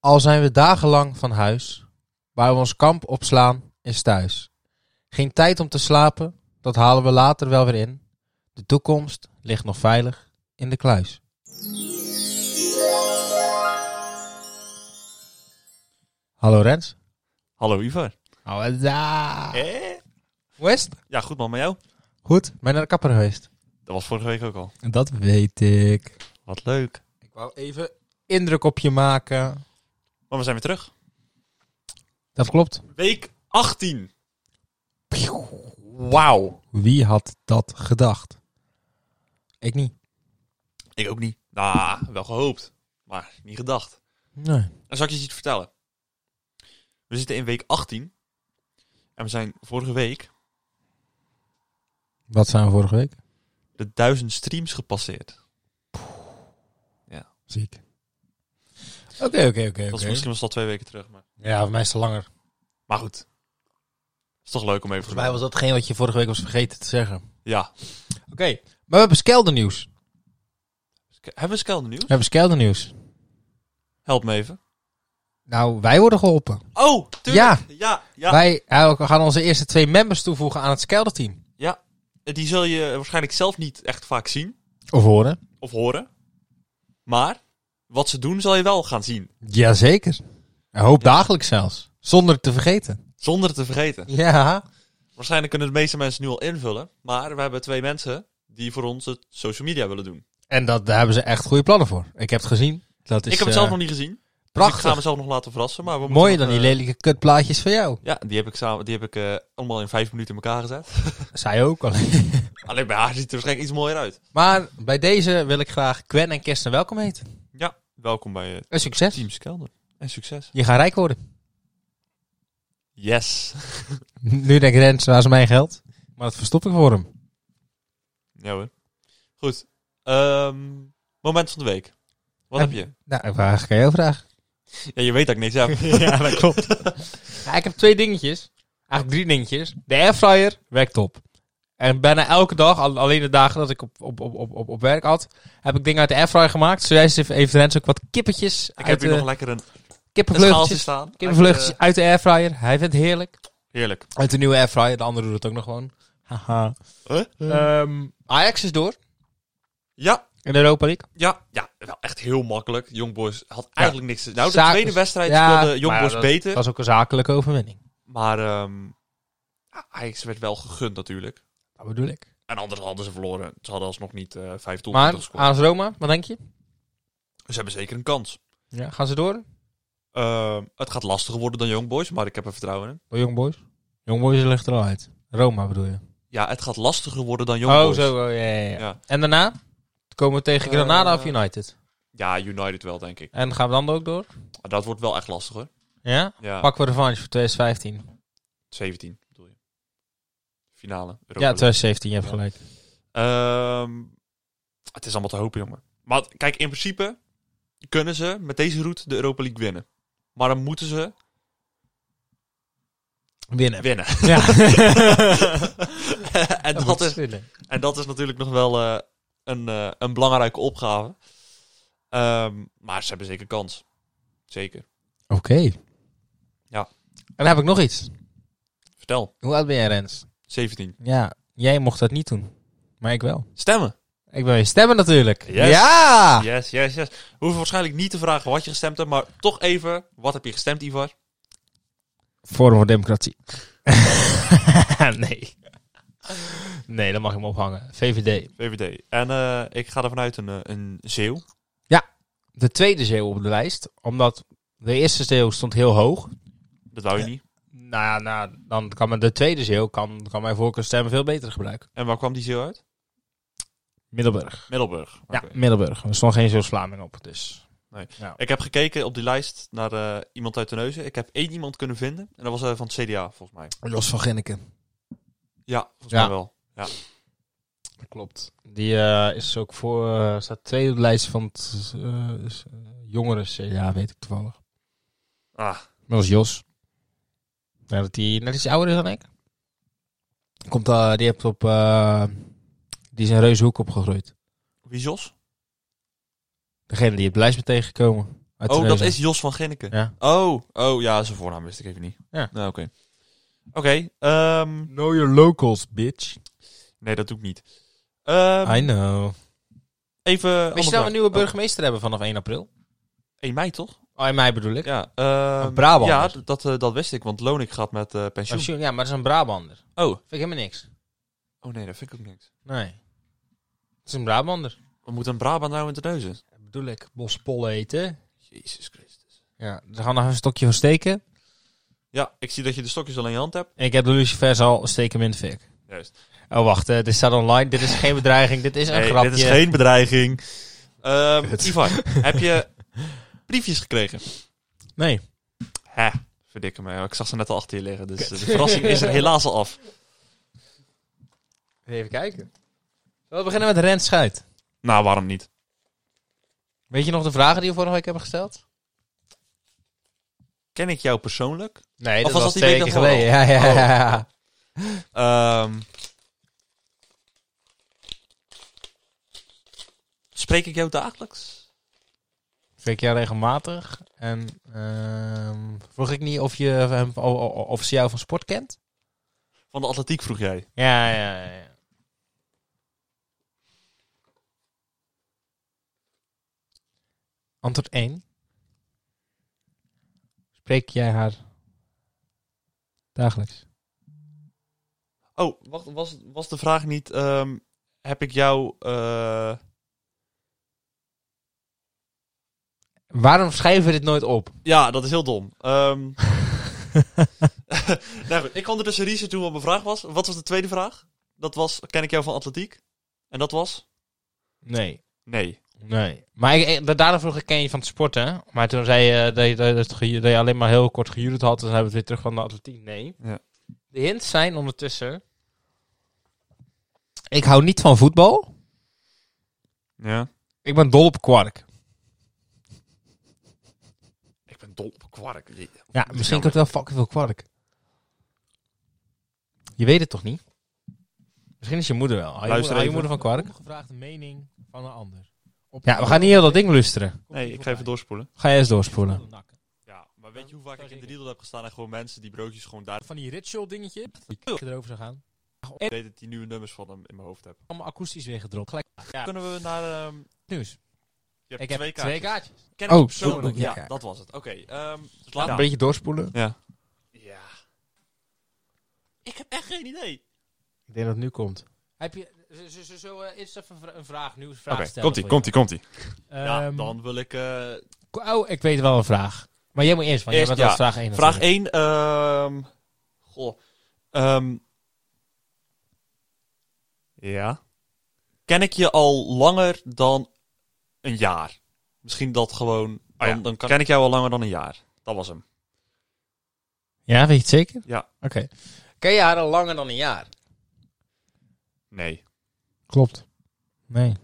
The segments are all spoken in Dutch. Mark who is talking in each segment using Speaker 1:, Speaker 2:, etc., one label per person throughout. Speaker 1: Al zijn we dagenlang van huis, waar we ons kamp opslaan is thuis. Geen tijd om te slapen, dat halen we later wel weer in. De toekomst ligt nog veilig in de kluis. Hallo Rens.
Speaker 2: Hallo Ivar.
Speaker 1: Hallo.
Speaker 2: Eh?
Speaker 1: West?
Speaker 2: Ja, goed man, met jou?
Speaker 1: Goed, ben je naar de kapper geweest?
Speaker 2: Dat was vorige week ook al.
Speaker 1: Dat weet ik.
Speaker 2: Wat leuk.
Speaker 1: Ik wou even indruk op je maken.
Speaker 2: Maar we zijn weer terug.
Speaker 1: Dat klopt.
Speaker 2: Week 18.
Speaker 1: Wauw. Wie had dat gedacht? Ik niet.
Speaker 2: Ik ook niet. Nou, wel gehoopt. Maar niet gedacht.
Speaker 1: Nee.
Speaker 2: Dan zal ik je iets vertellen. We zitten in week 18. En we zijn vorige week
Speaker 1: Wat zijn we vorige week?
Speaker 2: de 1000 streams gepasseerd.
Speaker 1: Ziek. Oké, oké, oké.
Speaker 2: Dat
Speaker 1: oké.
Speaker 2: is misschien was dat twee weken terug. Maar,
Speaker 1: Ja, voor mij is het langer.
Speaker 2: maar goed. Is toch leuk om even te
Speaker 1: Volgens mij was dat geen wat je vorige week was vergeten te zeggen. Oké,
Speaker 2: doen. Ja.
Speaker 1: maar we hebben skeldernieuws.
Speaker 2: Ske- Hebben we Skelder nieuws?
Speaker 1: We hebben skeldernieuws.
Speaker 2: Help me even.
Speaker 1: Nou, wij worden geholpen.
Speaker 2: Oh, tuurlijk. Ja. Ja, ja.
Speaker 1: Wij eh, we gaan onze eerste twee members toevoegen aan het skelderteam.
Speaker 2: Die zul je waarschijnlijk zelf niet echt vaak zien.
Speaker 1: Of horen.
Speaker 2: of horen. Maar wat ze doen zal je wel gaan zien.
Speaker 1: Jazeker. Een hoop dagelijks zelfs. Zonder het te vergeten.
Speaker 2: Zonder het te vergeten.
Speaker 1: Ja.
Speaker 2: Waarschijnlijk kunnen de meeste mensen nu al invullen. Maar we hebben twee mensen die voor ons het social media willen doen.
Speaker 1: En dat, daar hebben ze echt goede plannen voor. Ik heb het gezien. Dat is,
Speaker 2: ik heb het
Speaker 1: eh,
Speaker 2: zelf nog niet gezien. dus ik ga
Speaker 1: prachtig.
Speaker 2: mezelf nog laten verrassen. Maar we moeten
Speaker 1: Mooier
Speaker 2: nog,
Speaker 1: dan die
Speaker 2: eh,
Speaker 1: lelijke kutplaatjes van jou.
Speaker 2: Ja, die heb ik, samen, die heb ik eh, allemaal in vijf minuten in elkaar gezet.
Speaker 1: Zij ook al.
Speaker 2: Alleen bij haar ziet het er waarschijnlijk iets mooier uit.
Speaker 1: Maar bij deze wil ik graag Gwen en Kirsten welkom heten.
Speaker 2: Ja, welkom bij eh,
Speaker 1: Een succes.
Speaker 2: Team Skelder. En succes.
Speaker 1: Je gaat rijk worden.
Speaker 2: Yes.
Speaker 1: Nu denkt Rens, waar is mijn geld? Maar dat verstop ik voor hem.
Speaker 2: Ja hoor. Goed. Ehm, moment van de week. Wat
Speaker 1: Heb-
Speaker 2: heb je?
Speaker 1: Nou, waar ga je over vragen?
Speaker 2: Ja, je weet dat ik niks heb.
Speaker 1: ja, dat klopt. ik heb twee dingetjes. Eigenlijk drie dingetjes. De airfryer werkt top. En bijna elke dag, al- alleen de dagen dat ik op, op, op, op, op- op werk had, heb ik dingen uit de airfryer gemaakt. Zojuist heeft- heeft Rens ook wat kippetjes
Speaker 2: Ik heb
Speaker 1: uit eh,
Speaker 2: hier
Speaker 1: de,
Speaker 2: nog lekker een een schaaltje
Speaker 1: kippenvleugeltjes,
Speaker 2: staan.
Speaker 1: kippenvleugeltjes
Speaker 2: Lekker,
Speaker 1: uit de airfryer. Hij vindt het heerlijk.
Speaker 2: eh, Heerlijk.
Speaker 1: Uit de nieuwe airfryer. De andere doet het ook nog gewoon. Haha.
Speaker 2: Huh?
Speaker 1: Ehm, Ajax is door.
Speaker 2: Ja,
Speaker 1: In de Europa League.
Speaker 2: ja, ja, wel echt heel makkelijk. Jongboys had eigenlijk niks. te- Nou, de
Speaker 1: Zaak-
Speaker 2: tweede wedstrijd
Speaker 1: Ja,
Speaker 2: speelde
Speaker 1: maar
Speaker 2: Jongboys
Speaker 1: dat-
Speaker 2: beter.
Speaker 1: Dat was ook een zakelijke overwinning.
Speaker 2: Maar ehm ja, Ajax werd wel gegund natuurlijk.
Speaker 1: Dat bedoel ik.
Speaker 2: En anders hadden ze verloren. Ze hadden alsnog niet eh, vijf
Speaker 1: Maar Ah.
Speaker 2: doelpunten gescoord.
Speaker 1: AS Roma, wat denk je?
Speaker 2: Ze hebben zeker een kans.
Speaker 1: Ja. Gaan ze door?
Speaker 2: Ehm, het gaat lastiger worden dan Jongboys, maar ik heb er vertrouwen in.
Speaker 1: Oh, Young Boys. Young Boys ligt er al uit. Roma bedoel je?
Speaker 2: Ja, het gaat lastiger worden dan Jongboys.
Speaker 1: Oh, zo. oh, ja, ja, ja.
Speaker 2: Ja.
Speaker 1: En daarna komen we tegen Granada
Speaker 2: Eh,
Speaker 1: of United.
Speaker 2: Ja, United wel, denk ik.
Speaker 1: En gaan we dan ook door?
Speaker 2: Maar dat wordt wel echt lastiger.
Speaker 1: Ja?
Speaker 2: Ja,
Speaker 1: Pakken we revanche voor 2015.
Speaker 2: 17 bedoel je. Finale. Europa
Speaker 1: ja,
Speaker 2: League.
Speaker 1: 2017, je hebt
Speaker 2: Ja.
Speaker 1: gelijk.
Speaker 2: Ehm, het is allemaal te hopen, jongen. Maar kijk, in principe kunnen ze met deze route de Europa League winnen. Maar dan moeten ze
Speaker 1: Winnen.
Speaker 2: winnen.
Speaker 1: Ja.
Speaker 2: en, dat
Speaker 1: moet
Speaker 2: is,
Speaker 1: winnen.
Speaker 2: en dat is natuurlijk nog wel eh, een, eh, een belangrijke opgave. Ehm, maar ze hebben zeker kans. Zeker.
Speaker 1: Oké.
Speaker 2: Ja.
Speaker 1: En dan heb ik nog iets.
Speaker 2: Vertel.
Speaker 1: Hoe oud ben jij, Rens?
Speaker 2: 17.
Speaker 1: Ja, jij mocht dat niet doen. Maar ik wel.
Speaker 2: Stemmen.
Speaker 1: Ik ben weer stemmen natuurlijk.
Speaker 2: Yes.
Speaker 1: Ja!
Speaker 2: Yes, yes, yes. We hoeven waarschijnlijk niet te vragen wat je gestemd hebt, maar toch even. Wat heb je gestemd, Ivar?
Speaker 1: Forum voor Democratie. nee. Nee, dan mag ik me ophangen. VVD.
Speaker 2: VVD. En eh, ik ga ervan uit een, eh, een zeeuw.
Speaker 1: De tweede zeeuw op de lijst. Omdat de eerste zeeuw stond heel hoog.
Speaker 2: Dat wou je
Speaker 1: Ja.
Speaker 2: niet.
Speaker 1: Nou ja, nou, dan kan men de tweede zeeuw kan, kan mijn voorkeurstemmen veel beter gebruiken.
Speaker 2: En waar kwam die zeeuw uit?
Speaker 1: Middelburg.
Speaker 2: Middelburg. Oké.
Speaker 1: Ja, Middelburg. Er stond geen Zeeuws-Vlaming op. Dus.
Speaker 2: Ik heb gekeken op die lijst naar eh, iemand uit Terneuzen. Ik heb één iemand kunnen vinden. En dat was eh, van het CDA, volgens mij.
Speaker 1: Jos van Ginneken.
Speaker 2: Ja, volgens
Speaker 1: Ja.
Speaker 2: mij wel.
Speaker 1: Klopt. Die eh, is ook voor. eh, staat tweede op de lijst van het eh, is, eh, jongeren CDA, weet ik toevallig.
Speaker 2: Ah,
Speaker 1: Maar dat is Jos. Ja, dat die net iets ouder is dan ik. Komt, eh, die, hebt op, eh, die is in Reushoek opgegroeid.
Speaker 2: wie is Jos?
Speaker 1: Degene die op de lijst bent tegengekomen. Uit
Speaker 2: Oh, dat
Speaker 1: Tunesië.
Speaker 2: is Jos van Ginneken.
Speaker 1: Ja.
Speaker 2: Oh, oh ja, zijn voornaam wist ik even niet.
Speaker 1: Ja.
Speaker 2: Nou, oké. Oké, ehm,
Speaker 1: Know your locals, bitch.
Speaker 2: nee, dat doe ik niet. Ehm,
Speaker 1: I know.
Speaker 2: even.
Speaker 1: Wist je dat we een nieuwe burgemeester hebben vanaf 1 april?
Speaker 2: 1 mei toch?
Speaker 1: Oh, in mei bedoel ik.
Speaker 2: Ja. ehm,
Speaker 1: Een Brabant.
Speaker 2: Ja, d- dat, eh, dat wist ik, want Lonik gaat met eh, pensioen.
Speaker 1: Pensioen, ja, maar dat is een Brabander.
Speaker 2: Oh.
Speaker 1: Vind ik helemaal niks.
Speaker 2: Oh nee, dat vind ik ook niks.
Speaker 1: Nee. Het is een Brabander.
Speaker 2: We moeten een Brabant nou in de neuzen.
Speaker 1: bedoel ik, bospollen eten.
Speaker 2: Jezus Christus.
Speaker 1: Ja, ze gaan nog een stokje voor steken.
Speaker 2: Ja, ik zie dat je de stokjes al in je hand hebt.
Speaker 1: Ik heb de lucifers al, steken hem in de fik.
Speaker 2: Juist.
Speaker 1: Oh, wacht, eh, dit staat online. Dit is geen bedreiging, dit is een grapje.
Speaker 2: dit is geen bedreiging. Ehm,
Speaker 1: Kut.
Speaker 2: Ivan, heb je briefjes gekregen?
Speaker 1: Nee.
Speaker 2: Hè, verdikke me. Ik zag ze net al achter je liggen, dus de verrassing is er helaas al af.
Speaker 1: Even kijken. We beginnen met Rens Schuit.
Speaker 2: Nou, waarom niet?
Speaker 1: Weet je nog de vragen die we vorige week hebben gesteld?
Speaker 2: Ken ik jou persoonlijk?
Speaker 1: Nee, dat
Speaker 2: Of
Speaker 1: was,
Speaker 2: was dat die
Speaker 1: twee
Speaker 2: week
Speaker 1: keer
Speaker 2: daarvoor
Speaker 1: geleden. Ja, ja,
Speaker 2: Oh.
Speaker 1: ja. ja.
Speaker 2: Ehm, spreek ik jou dagelijks?
Speaker 1: Vind ik jou regelmatig. En ehm, vroeg ik niet of, je, hem- o- o- of ze jou van sport kent?
Speaker 2: Van de atletiek vroeg jij.
Speaker 1: Ja, ja, ja. Antwoord 1. Spreek jij haar dagelijks?
Speaker 2: Oh, wacht, was, was de vraag niet... ehm, heb ik jou... eh,
Speaker 1: Waarom schrijven we dit nooit op?
Speaker 2: Ja, dat is heel dom. Ehm, nou goed, ik kon er dus een research doen wat mijn vraag was. Wat was de tweede vraag? Dat was, ken ik jou van atletiek? En dat was?
Speaker 1: Nee.
Speaker 2: Nee.
Speaker 1: Nee. Maar ik, ik- da- daarna vroeg ik, ken je van het sporten? Maar toen zei je dat je, dat, het geju- dat je alleen maar heel kort gejuurd had. En dan hebben we het weer terug van de atletiek. Nee.
Speaker 2: Ja.
Speaker 1: De hints zijn ondertussen... Ik hou niet van voetbal.
Speaker 2: Ja.
Speaker 1: Ik ben dol op kwark.
Speaker 2: Ik ben dol op kwark. Je-
Speaker 1: Ja, misschien
Speaker 2: nou
Speaker 1: kan ik wel fucking veel kwark. Je weet het toch niet? Misschien is je moeder wel. Hou je,
Speaker 2: Luister
Speaker 1: moeder- hou je
Speaker 2: even.
Speaker 1: moeder van kwark?
Speaker 3: Ongevraagd de mening van een ander. Op
Speaker 1: Ja, we gaan niet heel dat ding lusteren.
Speaker 2: Nee, ik ga even doorspoelen.
Speaker 1: Ga je eens doorspoelen.
Speaker 3: nakken.
Speaker 2: Ja, maar weet je hoe vaak ik in de riedel heb gestaan en gewoon mensen die broodjes gewoon daar...
Speaker 3: Van die ritual dingetje. Ik erover zou gaan.
Speaker 2: Ik weet dat die nieuwe nummers van hem in mijn hoofd heb.
Speaker 3: Allemaal akoestisch weer gedropt. Gelijk.
Speaker 2: Kunnen we naar... ehm,
Speaker 3: Nieuws.
Speaker 2: je hebt
Speaker 3: Ik heb
Speaker 2: twee
Speaker 3: twee
Speaker 2: kaarten.
Speaker 3: kaartjes.
Speaker 2: Ken ik
Speaker 1: Oh,
Speaker 2: persoonlijk?
Speaker 1: sorry,
Speaker 2: ja,
Speaker 1: ja, ja.
Speaker 2: dat was het. Oké, ehm, dus
Speaker 1: Laat
Speaker 2: laat
Speaker 1: een beetje doorspoelen.
Speaker 2: Ja. Ja. Ik heb echt geen idee.
Speaker 1: Ik denk dat het nu komt.
Speaker 3: Heb je... Zo, zo, zo, zo eh, eerst even een vra- een vraag, nieuwsvraag
Speaker 2: Oké,
Speaker 3: stellen.
Speaker 2: komt-ie,
Speaker 3: voor jou.
Speaker 2: komt-ie, komt-ie. Ja,
Speaker 3: Ehm,
Speaker 2: dan wil ik... eh,
Speaker 1: Oh, ik weet wel een vraag. Maar jij moet eerst, want jij
Speaker 2: Eerst,
Speaker 1: bent
Speaker 2: ja.
Speaker 1: als vraag 1.
Speaker 2: Vraag 1. ehm goh. Ehm, ja. Ken ik je al langer dan een jaar? Misschien dat gewoon. Dan,
Speaker 1: ja.
Speaker 2: dan kan... Oh Ken ik jou al langer dan een jaar? Dat was hem.
Speaker 1: Ja, weet je het zeker?
Speaker 2: Ja.
Speaker 1: Oké. Ken je haar al langer dan een jaar?
Speaker 2: Nee.
Speaker 1: Klopt. Nee.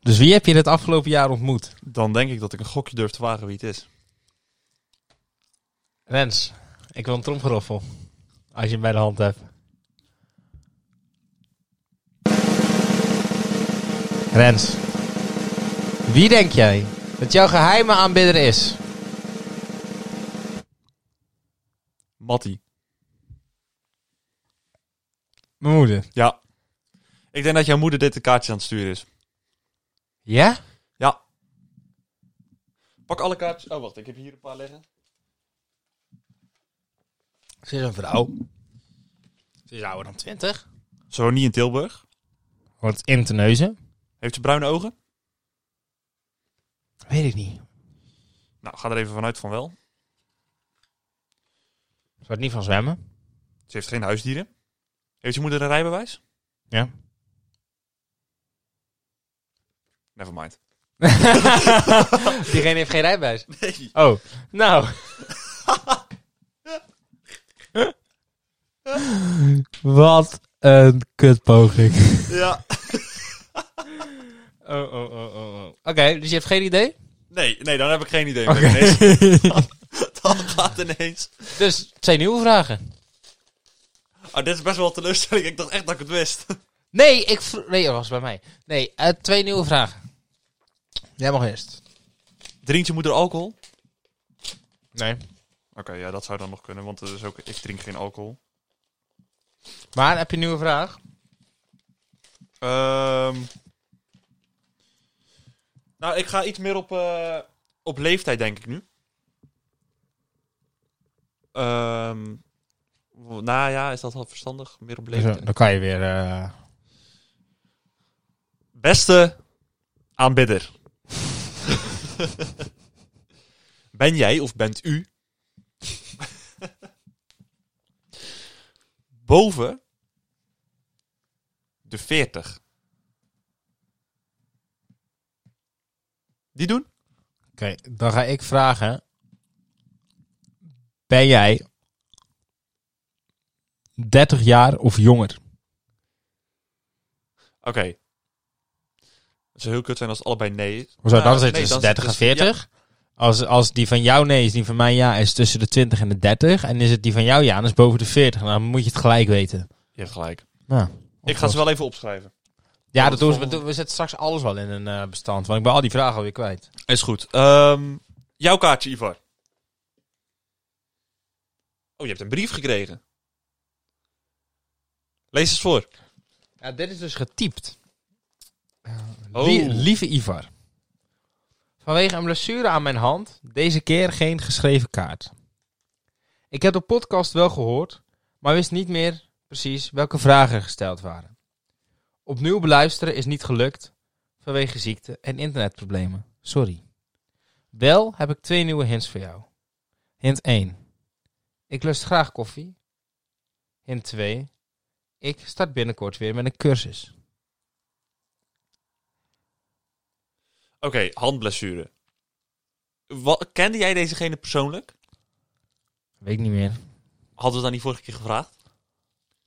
Speaker 1: Dus wie heb je het afgelopen jaar ontmoet?
Speaker 2: Dan denk ik dat ik een gokje durf te wagen wie het is.
Speaker 1: Rens, ik wil een tromgeroffel. Als je hem bij de hand hebt. Rens, wie denk jij dat jouw geheime aanbidder is?
Speaker 2: Matty.
Speaker 1: Mijn moeder.
Speaker 2: Ja. Ik denk dat jouw moeder dit een kaartje aan het sturen is.
Speaker 1: Ja?
Speaker 2: Pak alle kaartjes. Oh, wacht. Ik heb hier een paar liggen.
Speaker 1: Ze is een vrouw. Ze is ouder dan 20.
Speaker 2: Ze woont niet in Tilburg.
Speaker 1: Wordt in te neuzen?
Speaker 2: Heeft ze bruine ogen?
Speaker 1: Weet ik niet.
Speaker 2: Nou, ga er even vanuit van wel.
Speaker 1: Ze wordt niet van zwemmen.
Speaker 2: Ze heeft geen huisdieren. Heeft je moeder een rijbewijs?
Speaker 1: Ja.
Speaker 2: Never mind.
Speaker 1: Diegene heeft geen rijbewijs.
Speaker 2: Nee.
Speaker 1: Oh, nou. Wat een kutpoging.
Speaker 2: Ja.
Speaker 1: Oh, oh, oh, oh. oh. Oké, dus je hebt geen idee?
Speaker 2: Nee, nee, dan heb ik geen idee.
Speaker 1: Oké.
Speaker 2: Ineens- Dan gaat ineens.
Speaker 1: dus het zijn nieuwe vragen.
Speaker 2: Oh, dit is best wel een teleurstelling. Ik dacht echt dat ik het wist.
Speaker 1: Nee, ik vro- Nee, dat was bij mij. Nee, eh, twee nieuwe vragen. Jij mag eerst.
Speaker 2: Drinkt je moeder alcohol?
Speaker 1: Nee.
Speaker 2: Oké, ja, dat zou dan nog kunnen, want er is ook, ik drink geen alcohol.
Speaker 1: Maar heb je een nieuwe vraag?
Speaker 2: Ehm, nou, ik ga iets meer op, eh, op leeftijd, denk ik nu. Ehm, w- nou ja, is dat wel verstandig? Meer op leeftijd.
Speaker 1: dan kan je weer... eh,
Speaker 2: Beste aanbidder. ben jij of bent u boven de 40? Die doen?
Speaker 1: Oké, dan ga ik vragen. Ben jij 30 jaar of jonger?
Speaker 2: Oké. Het zou heel kut zijn als het allebei nee is.
Speaker 1: Hoezo,
Speaker 2: Nou,
Speaker 1: dan zit
Speaker 2: nee,
Speaker 1: tussen
Speaker 2: dan
Speaker 1: 30 Dus en
Speaker 2: zit
Speaker 1: 40. Als, als die van jou nee is, die van mij ja, is tussen de 20 en de 30. En is het die van jou ja, dan is boven de 40. Dan moet je het gelijk weten.
Speaker 2: ja, je hebt gelijk.
Speaker 1: Nou,
Speaker 2: Ik ga ze wel even opschrijven.
Speaker 1: Ja, dat doen we. We doen- we zetten straks alles wel in een eh, bestand. Want ik ben al die vragen alweer kwijt.
Speaker 2: Is goed. Ehm, jouw kaartje, Ivar. Oh, je hebt een brief gekregen. Lees eens voor.
Speaker 1: Ja, dit is dus getypt.
Speaker 2: Oh.
Speaker 1: Lie- lieve Ivar. Vanwege een blessure aan mijn hand, deze keer geen geschreven kaart. Ik heb de podcast wel gehoord, maar wist niet meer precies welke vragen er gesteld waren. Opnieuw beluisteren is niet gelukt vanwege ziekte en internetproblemen. Sorry. Wel heb ik twee nieuwe hints voor jou. Hint 1. Ik lust graag koffie. Hint 2. Ik start binnenkort weer met een cursus.
Speaker 2: Oké, handblessure. Wat, kende jij dezegene persoonlijk?
Speaker 1: Weet ik niet meer.
Speaker 2: Hadden we dat niet vorige keer gevraagd?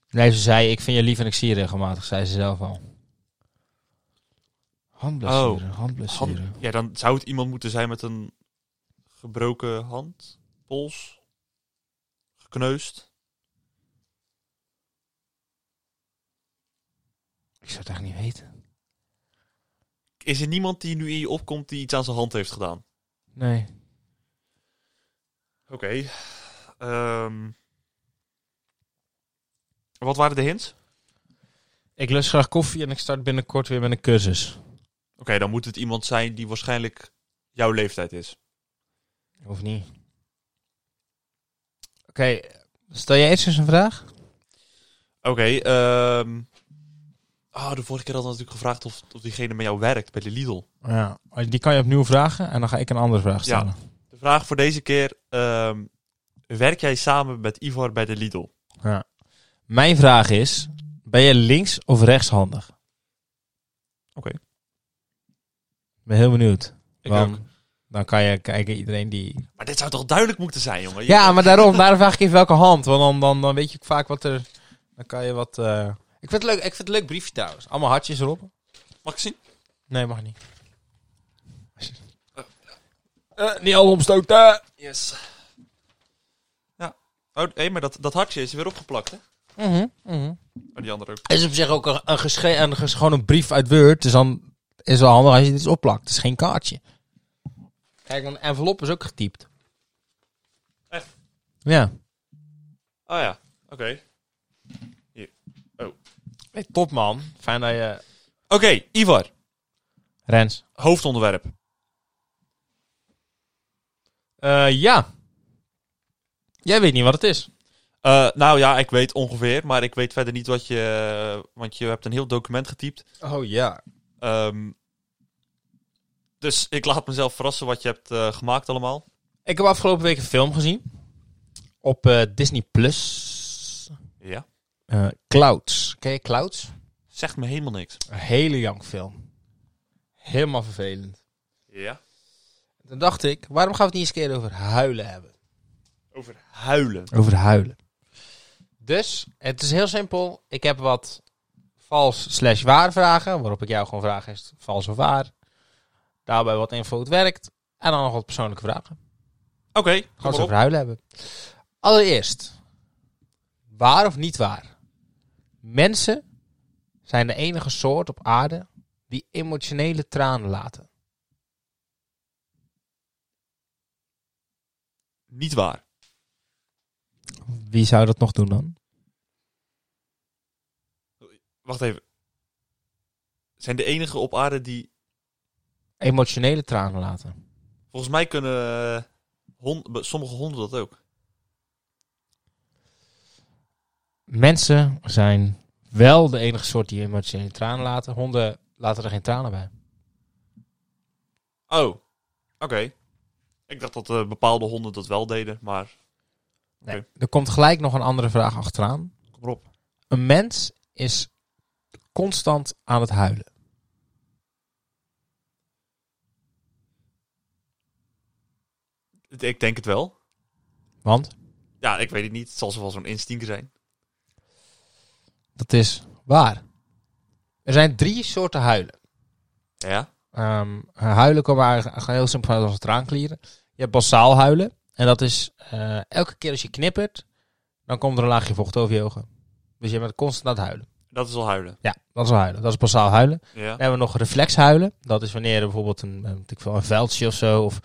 Speaker 1: Nee, ze zei, ik vind je lief en ik zie je regelmatig, zei ze zelf al. Handblessure,
Speaker 2: Hand-
Speaker 1: handblessure.
Speaker 2: ja, dan zou het iemand moeten zijn met een gebroken hand, pols, gekneusd.
Speaker 1: Ik zou het echt niet weten.
Speaker 2: Is er niemand die nu in je opkomt die iets aan zijn hand heeft gedaan?
Speaker 1: Nee.
Speaker 2: Oké. Ehm, wat waren de hints?
Speaker 1: Ik lust graag koffie en ik start binnenkort weer met een cursus.
Speaker 2: Oké, dan moet het iemand zijn die waarschijnlijk jouw leeftijd is.
Speaker 1: Of niet? Oké, stel jij eerst eens een vraag?
Speaker 2: Oké, ehm ah, de vorige keer hadden we natuurlijk gevraagd of, of diegene met jou werkt bij de Lidl.
Speaker 1: Ja, die kan je opnieuw vragen en dan ga ik een andere vraag stellen.
Speaker 2: De vraag voor deze keer, ehm, werk jij samen met Ivor bij de Lidl?
Speaker 1: Mijn vraag is, ben je links of rechtshandig?
Speaker 2: Oké.
Speaker 1: ben heel benieuwd.
Speaker 2: Ik
Speaker 1: want
Speaker 2: ook.
Speaker 1: Dan kan je kijken, iedereen die
Speaker 2: Maar dit zou toch duidelijk moeten zijn, jongen?
Speaker 1: Ja, maar daarom, daarom vraag ik even welke hand. Want dan, dan, dan weet je ook vaak wat er. Dan kan je wat. eh, Ik, vind het leuk, ik vind het een leuk briefje trouwens. Allemaal hartjes erop.
Speaker 2: Mag ik zien?
Speaker 1: Nee, mag niet. Eh, niet al omstoten.
Speaker 2: Yes. Ja. Oh, hé, maar dat, dat hartje is weer opgeplakt, hè?
Speaker 1: Mhm, mhm.
Speaker 2: Oh, die andere ook.
Speaker 1: Is op zich ook een, een, gesche- een, ges- gewoon een brief uit Word. Dus dan is het wel handig als je dit eens opplakt. Het is geen kaartje. Kijk, want een envelop is ook getypt.
Speaker 2: Echt?
Speaker 1: Ja.
Speaker 2: Oh ja, oké.
Speaker 1: Hey, top man. Fijn dat je.
Speaker 2: Oké, Ivar,
Speaker 1: Rens.
Speaker 2: hoofdonderwerp.
Speaker 1: Eh, ja. Jij weet niet wat het is.
Speaker 2: Eh, nou ja, ik weet ongeveer, maar ik weet verder niet wat je... Want je hebt een heel document getypt.
Speaker 1: Oh ja.
Speaker 2: Ehm, dus ik laat mezelf verrassen wat je hebt eh, gemaakt allemaal.
Speaker 1: Ik heb afgelopen week een film gezien. Op eh, Disney Plus.
Speaker 2: Ja.
Speaker 1: Eh, Clouds. Ken je Clouds?
Speaker 2: Zegt me helemaal niks.
Speaker 1: Een hele jank film. Helemaal vervelend.
Speaker 2: Ja.
Speaker 1: Toen dacht ik, waarom gaan we het niet eens een keer over huilen hebben?
Speaker 2: Over huilen.
Speaker 1: Over huilen. Dus, het is heel simpel. Ik heb wat vals slash waar vragen. Waarop ik jou gewoon vraag is het vals of waar. Daarbij wat info het werkt. En dan nog wat persoonlijke vragen.
Speaker 2: Oké,
Speaker 1: Gaan
Speaker 2: kom
Speaker 1: we
Speaker 2: maar
Speaker 1: het
Speaker 2: op.
Speaker 1: over huilen hebben. Allereerst. Waar of niet waar? Mensen zijn de enige soort op aarde die emotionele tranen laten.
Speaker 2: niet waar.
Speaker 1: Wie zou dat nog doen dan?
Speaker 2: Wacht even. Zijn de enige op aarde die...
Speaker 1: Emotionele tranen laten.
Speaker 2: Volgens mij kunnen eh, hond- be- sommige honden dat ook.
Speaker 1: Mensen zijn wel de enige soort die emotionele tranen laten. Honden laten er geen tranen bij.
Speaker 2: Oh, oké. Ik dacht dat eh, bepaalde honden dat wel deden, maar...
Speaker 1: Nee.
Speaker 2: Oké.
Speaker 1: Er komt gelijk nog een andere vraag achteraan.
Speaker 2: Kom erop.
Speaker 1: Een mens is constant aan het huilen.
Speaker 2: Ik denk het wel.
Speaker 1: Want
Speaker 2: Ja, ik weet het niet. Het zal zo wel zo'n instinct zijn.
Speaker 1: dat is waar. Er zijn drie soorten huilen.
Speaker 2: Ja?
Speaker 1: Ehm, huilen komen eigenlijk gewoon heel simpel vanuit onze traanklieren. Je hebt basaal huilen. En dat is eh, elke keer als je knippert, dan komt er een laagje vocht over je ogen. Dus je bent constant aan het huilen.
Speaker 2: Dat is al huilen.
Speaker 1: Ja, dat is huilen. Dat is basaal huilen.
Speaker 2: Ja?
Speaker 1: Dan hebben we nog reflexhuilen. Dat is wanneer er bijvoorbeeld een, eh, weet ik veel, een veldje of zo. Of,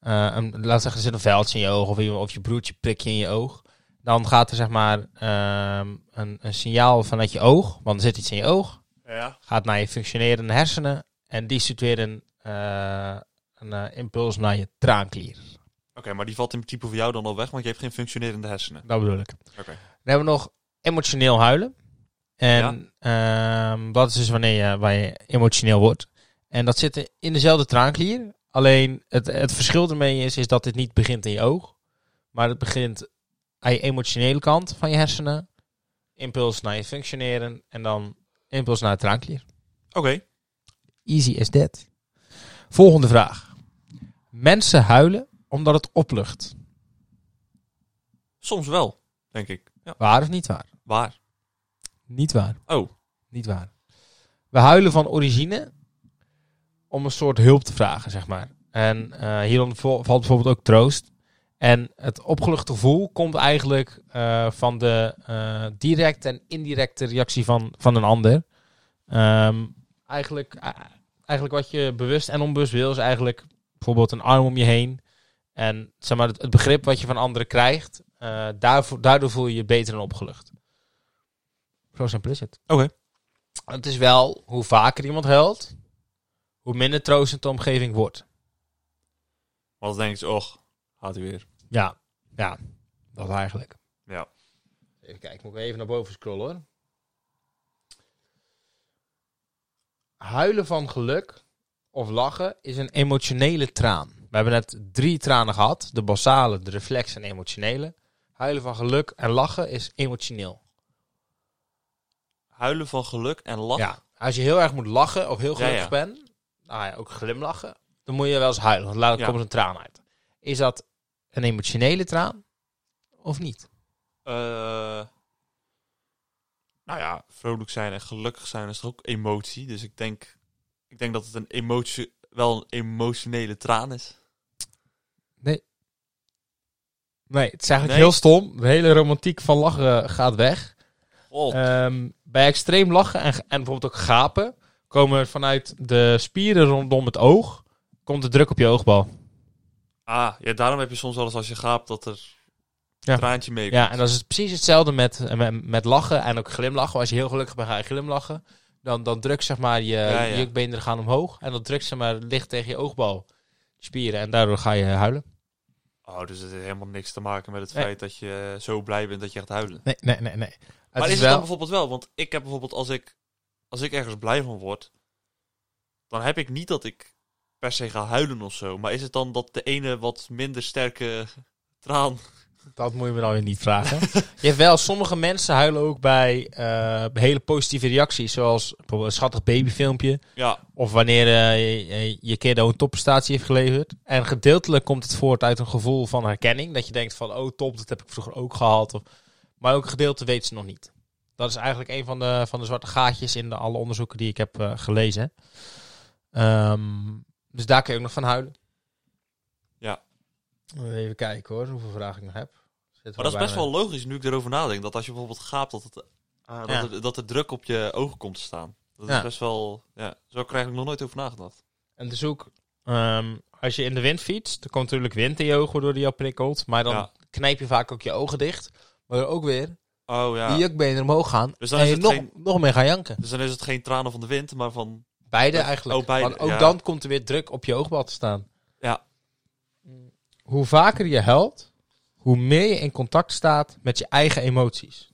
Speaker 1: eh, een, laat zeggen, er zit een veldje in je oog. Of, iemand- of je broertje prikt je in je oog. Dan gaat er zeg maar ehm, een, een signaal vanuit je oog. Want er zit iets in je oog.
Speaker 2: Ja.
Speaker 1: Gaat naar je functionerende hersenen. En die stuurt weer een, eh, een eh, impuls naar je traanklier.
Speaker 2: Oké, maar die valt in principe voor jou dan al weg, want je hebt geen functionerende hersenen.
Speaker 1: Dat bedoel ik.
Speaker 2: Oké.
Speaker 1: Dan hebben we nog emotioneel huilen. En ehm, dat is dus wanneer je, waar je emotioneel wordt. En dat zit in dezelfde traanklier. Alleen het, het verschil ermee is, is dat dit niet begint in je oog. Maar het begint aan je emotionele kant van je hersenen. Impuls naar je functioneren. En dan impuls naar het traanklier.
Speaker 2: Oké.
Speaker 1: Easy as that. Volgende vraag. Mensen huilen omdat het oplucht.
Speaker 2: Soms wel, denk ik. Ja.
Speaker 1: Waar of niet waar?
Speaker 2: Waar?
Speaker 1: Niet waar.
Speaker 2: Oh.
Speaker 1: Niet waar. We huilen van origine om een soort hulp te vragen, zeg maar. En eh hierom vo- valt bijvoorbeeld ook troost. En het opgelucht gevoel komt eigenlijk eh, van de eh, directe en indirecte reactie van, van een ander. Ehm, eigenlijk, eh, eigenlijk wat je bewust en onbewust wil, is eigenlijk bijvoorbeeld een arm om je heen. En zeg maar, het, het begrip wat je van anderen krijgt, eh, daarvoor, daardoor voel je je beter en opgelucht. Zo simpel is het. Het is wel hoe vaker iemand huilt, hoe minder troostend de omgeving wordt.
Speaker 2: Want dan denk je, och, gaat hij weer.
Speaker 1: Ja, ja, dat eigenlijk.
Speaker 2: Ja.
Speaker 1: Even kijken, moet ik even naar boven scrollen hoor. Huilen van geluk of lachen is een emotionele traan. We hebben net drie tranen gehad: de basale, de reflex en emotionele. Huilen van geluk en lachen is emotioneel.
Speaker 2: Huilen van geluk en lachen.
Speaker 1: Ja, als je heel erg moet lachen of heel
Speaker 2: Ja,
Speaker 1: gelukkig
Speaker 2: ja.
Speaker 1: bent, nou ja, ook glimlachen, dan moet je wel eens huilen, want later
Speaker 2: Ja.
Speaker 1: komt er een traan uit. Is dat een emotionele traan of niet?
Speaker 2: Eh, nou ja, vrolijk zijn en gelukkig zijn is toch ook emotie. Dus ik denk, ik denk dat het een emotie, wel een emotionele traan is.
Speaker 1: Nee, het is eigenlijk
Speaker 2: Nee.
Speaker 1: heel stom. De hele romantiek van lachen gaat weg.
Speaker 2: Oh,
Speaker 1: Ehm, bij extreem lachen en, en bijvoorbeeld ook gapen, komen er vanuit de spieren rondom het oog, komt de druk op je oogbal.
Speaker 2: Ah, ja, daarom heb je soms wel eens als je gaapt dat er
Speaker 1: Ja.
Speaker 2: een traantje mee
Speaker 1: Ja, en dat is het precies hetzelfde met, eh, met, met lachen en ook glimlachen. Als je heel gelukkig bent, ga je glimlachen. Dan, dan drukt zeg maar je
Speaker 2: Ja, ja.
Speaker 1: jukbeenderen gaan omhoog. En dat drukt zeg maar licht tegen je oogbal. Spieren. En daardoor ga je huilen.
Speaker 2: Oh, dus het heeft helemaal niks te maken met het
Speaker 1: Nee.
Speaker 2: feit dat je zo blij bent dat je gaat huilen.
Speaker 1: Nee, nee, nee. nee.
Speaker 2: maar is,
Speaker 1: is
Speaker 2: het dan
Speaker 1: wel...
Speaker 2: bijvoorbeeld wel? Want ik heb bijvoorbeeld als ik, als ik ergens blij van word, dan heb ik niet dat ik per se ga huilen of zo. Maar is het dan dat de ene wat minder sterke traan...
Speaker 1: Dat moet je me dan weer niet vragen. je hebt wel, sommige mensen huilen ook bij eh, hele positieve reacties. Zoals bijvoorbeeld een schattig babyfilmpje.
Speaker 2: Ja,
Speaker 1: Of wanneer eh, je- je, je kiddo een topprestatie heeft geleverd. En gedeeltelijk komt het voort uit een gevoel van herkenning. Dat je denkt van, oh top, dat heb ik vroeger ook gehad. Of, maar ook een gedeelte weet ze nog niet. Dat is eigenlijk een van de, van de zwarte gaatjes in de, alle onderzoeken die ik heb eh, gelezen. Ehm, dus daar kun je ook nog van huilen.
Speaker 2: Ja.
Speaker 1: Even kijken hoor, hoeveel vragen ik nog heb. Zitten we
Speaker 2: maar dat is
Speaker 1: bijna-
Speaker 2: best wel logisch nu ik erover nadenk. Dat als je bijvoorbeeld gaapt, dat, het, ah,
Speaker 1: Ja.
Speaker 2: dat, er, dat er druk op je ogen komt te staan. Dat
Speaker 1: Ja.
Speaker 2: is best wel... Ja, zo krijg ik nog nooit over nagedacht.
Speaker 1: En dus ook ehm, als je in de wind fietst, dan komt natuurlijk wind in je ogen door die jou prikkelt. Maar dan
Speaker 2: Ja.
Speaker 1: knijp je vaak ook je ogen dicht. Maar ook weer
Speaker 2: Oh ja.
Speaker 1: die jukbenen omhoog gaan.
Speaker 2: Dus dan
Speaker 1: en
Speaker 2: is
Speaker 1: je
Speaker 2: het
Speaker 1: nog,
Speaker 2: geen-
Speaker 1: nog meer gaan janken.
Speaker 2: Dus dan is het geen tranen van de wind, maar van...
Speaker 1: Beide
Speaker 2: Dat-
Speaker 1: eigenlijk.
Speaker 2: oh, beide,
Speaker 1: Want ook
Speaker 2: ja.
Speaker 1: dan komt er weer druk op je oogbal te staan.
Speaker 2: Ja.
Speaker 1: Hoe vaker je huilt, hoe meer je in contact staat met je eigen emoties.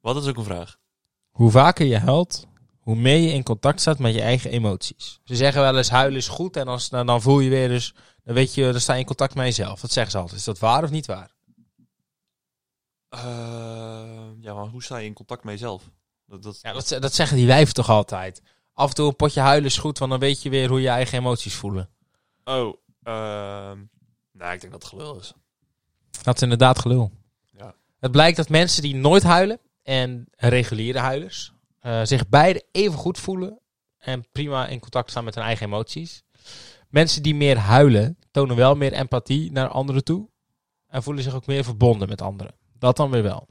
Speaker 2: Wat is ook een vraag?
Speaker 1: Hoe vaker je huilt, hoe meer je in contact staat met je eigen emoties. Ze zeggen wel eens huilen is goed en als, dan, dan voel je weer dus... Dan, weet je, dan sta je in contact met jezelf. Dat zeggen ze altijd. Is dat waar of niet waar?
Speaker 2: Eh, ja, maar hoe sta je in contact met jezelf? Dat, dat...
Speaker 1: Ja, dat, ze- dat zeggen die wijven toch altijd. Af en toe een potje huilen is goed, want dan weet je weer hoe je eigen emoties voelen.
Speaker 2: Oh, ehm nou, ik denk dat het gelul is.
Speaker 1: Dat is inderdaad gelul.
Speaker 2: Ja.
Speaker 1: Het blijkt dat mensen die nooit huilen en reguliere huilers eh, zich beide even goed voelen en prima in contact staan met hun eigen emoties. Mensen die meer huilen tonen wel meer empathie naar anderen toe en voelen zich ook meer verbonden met anderen. Dat dan weer wel.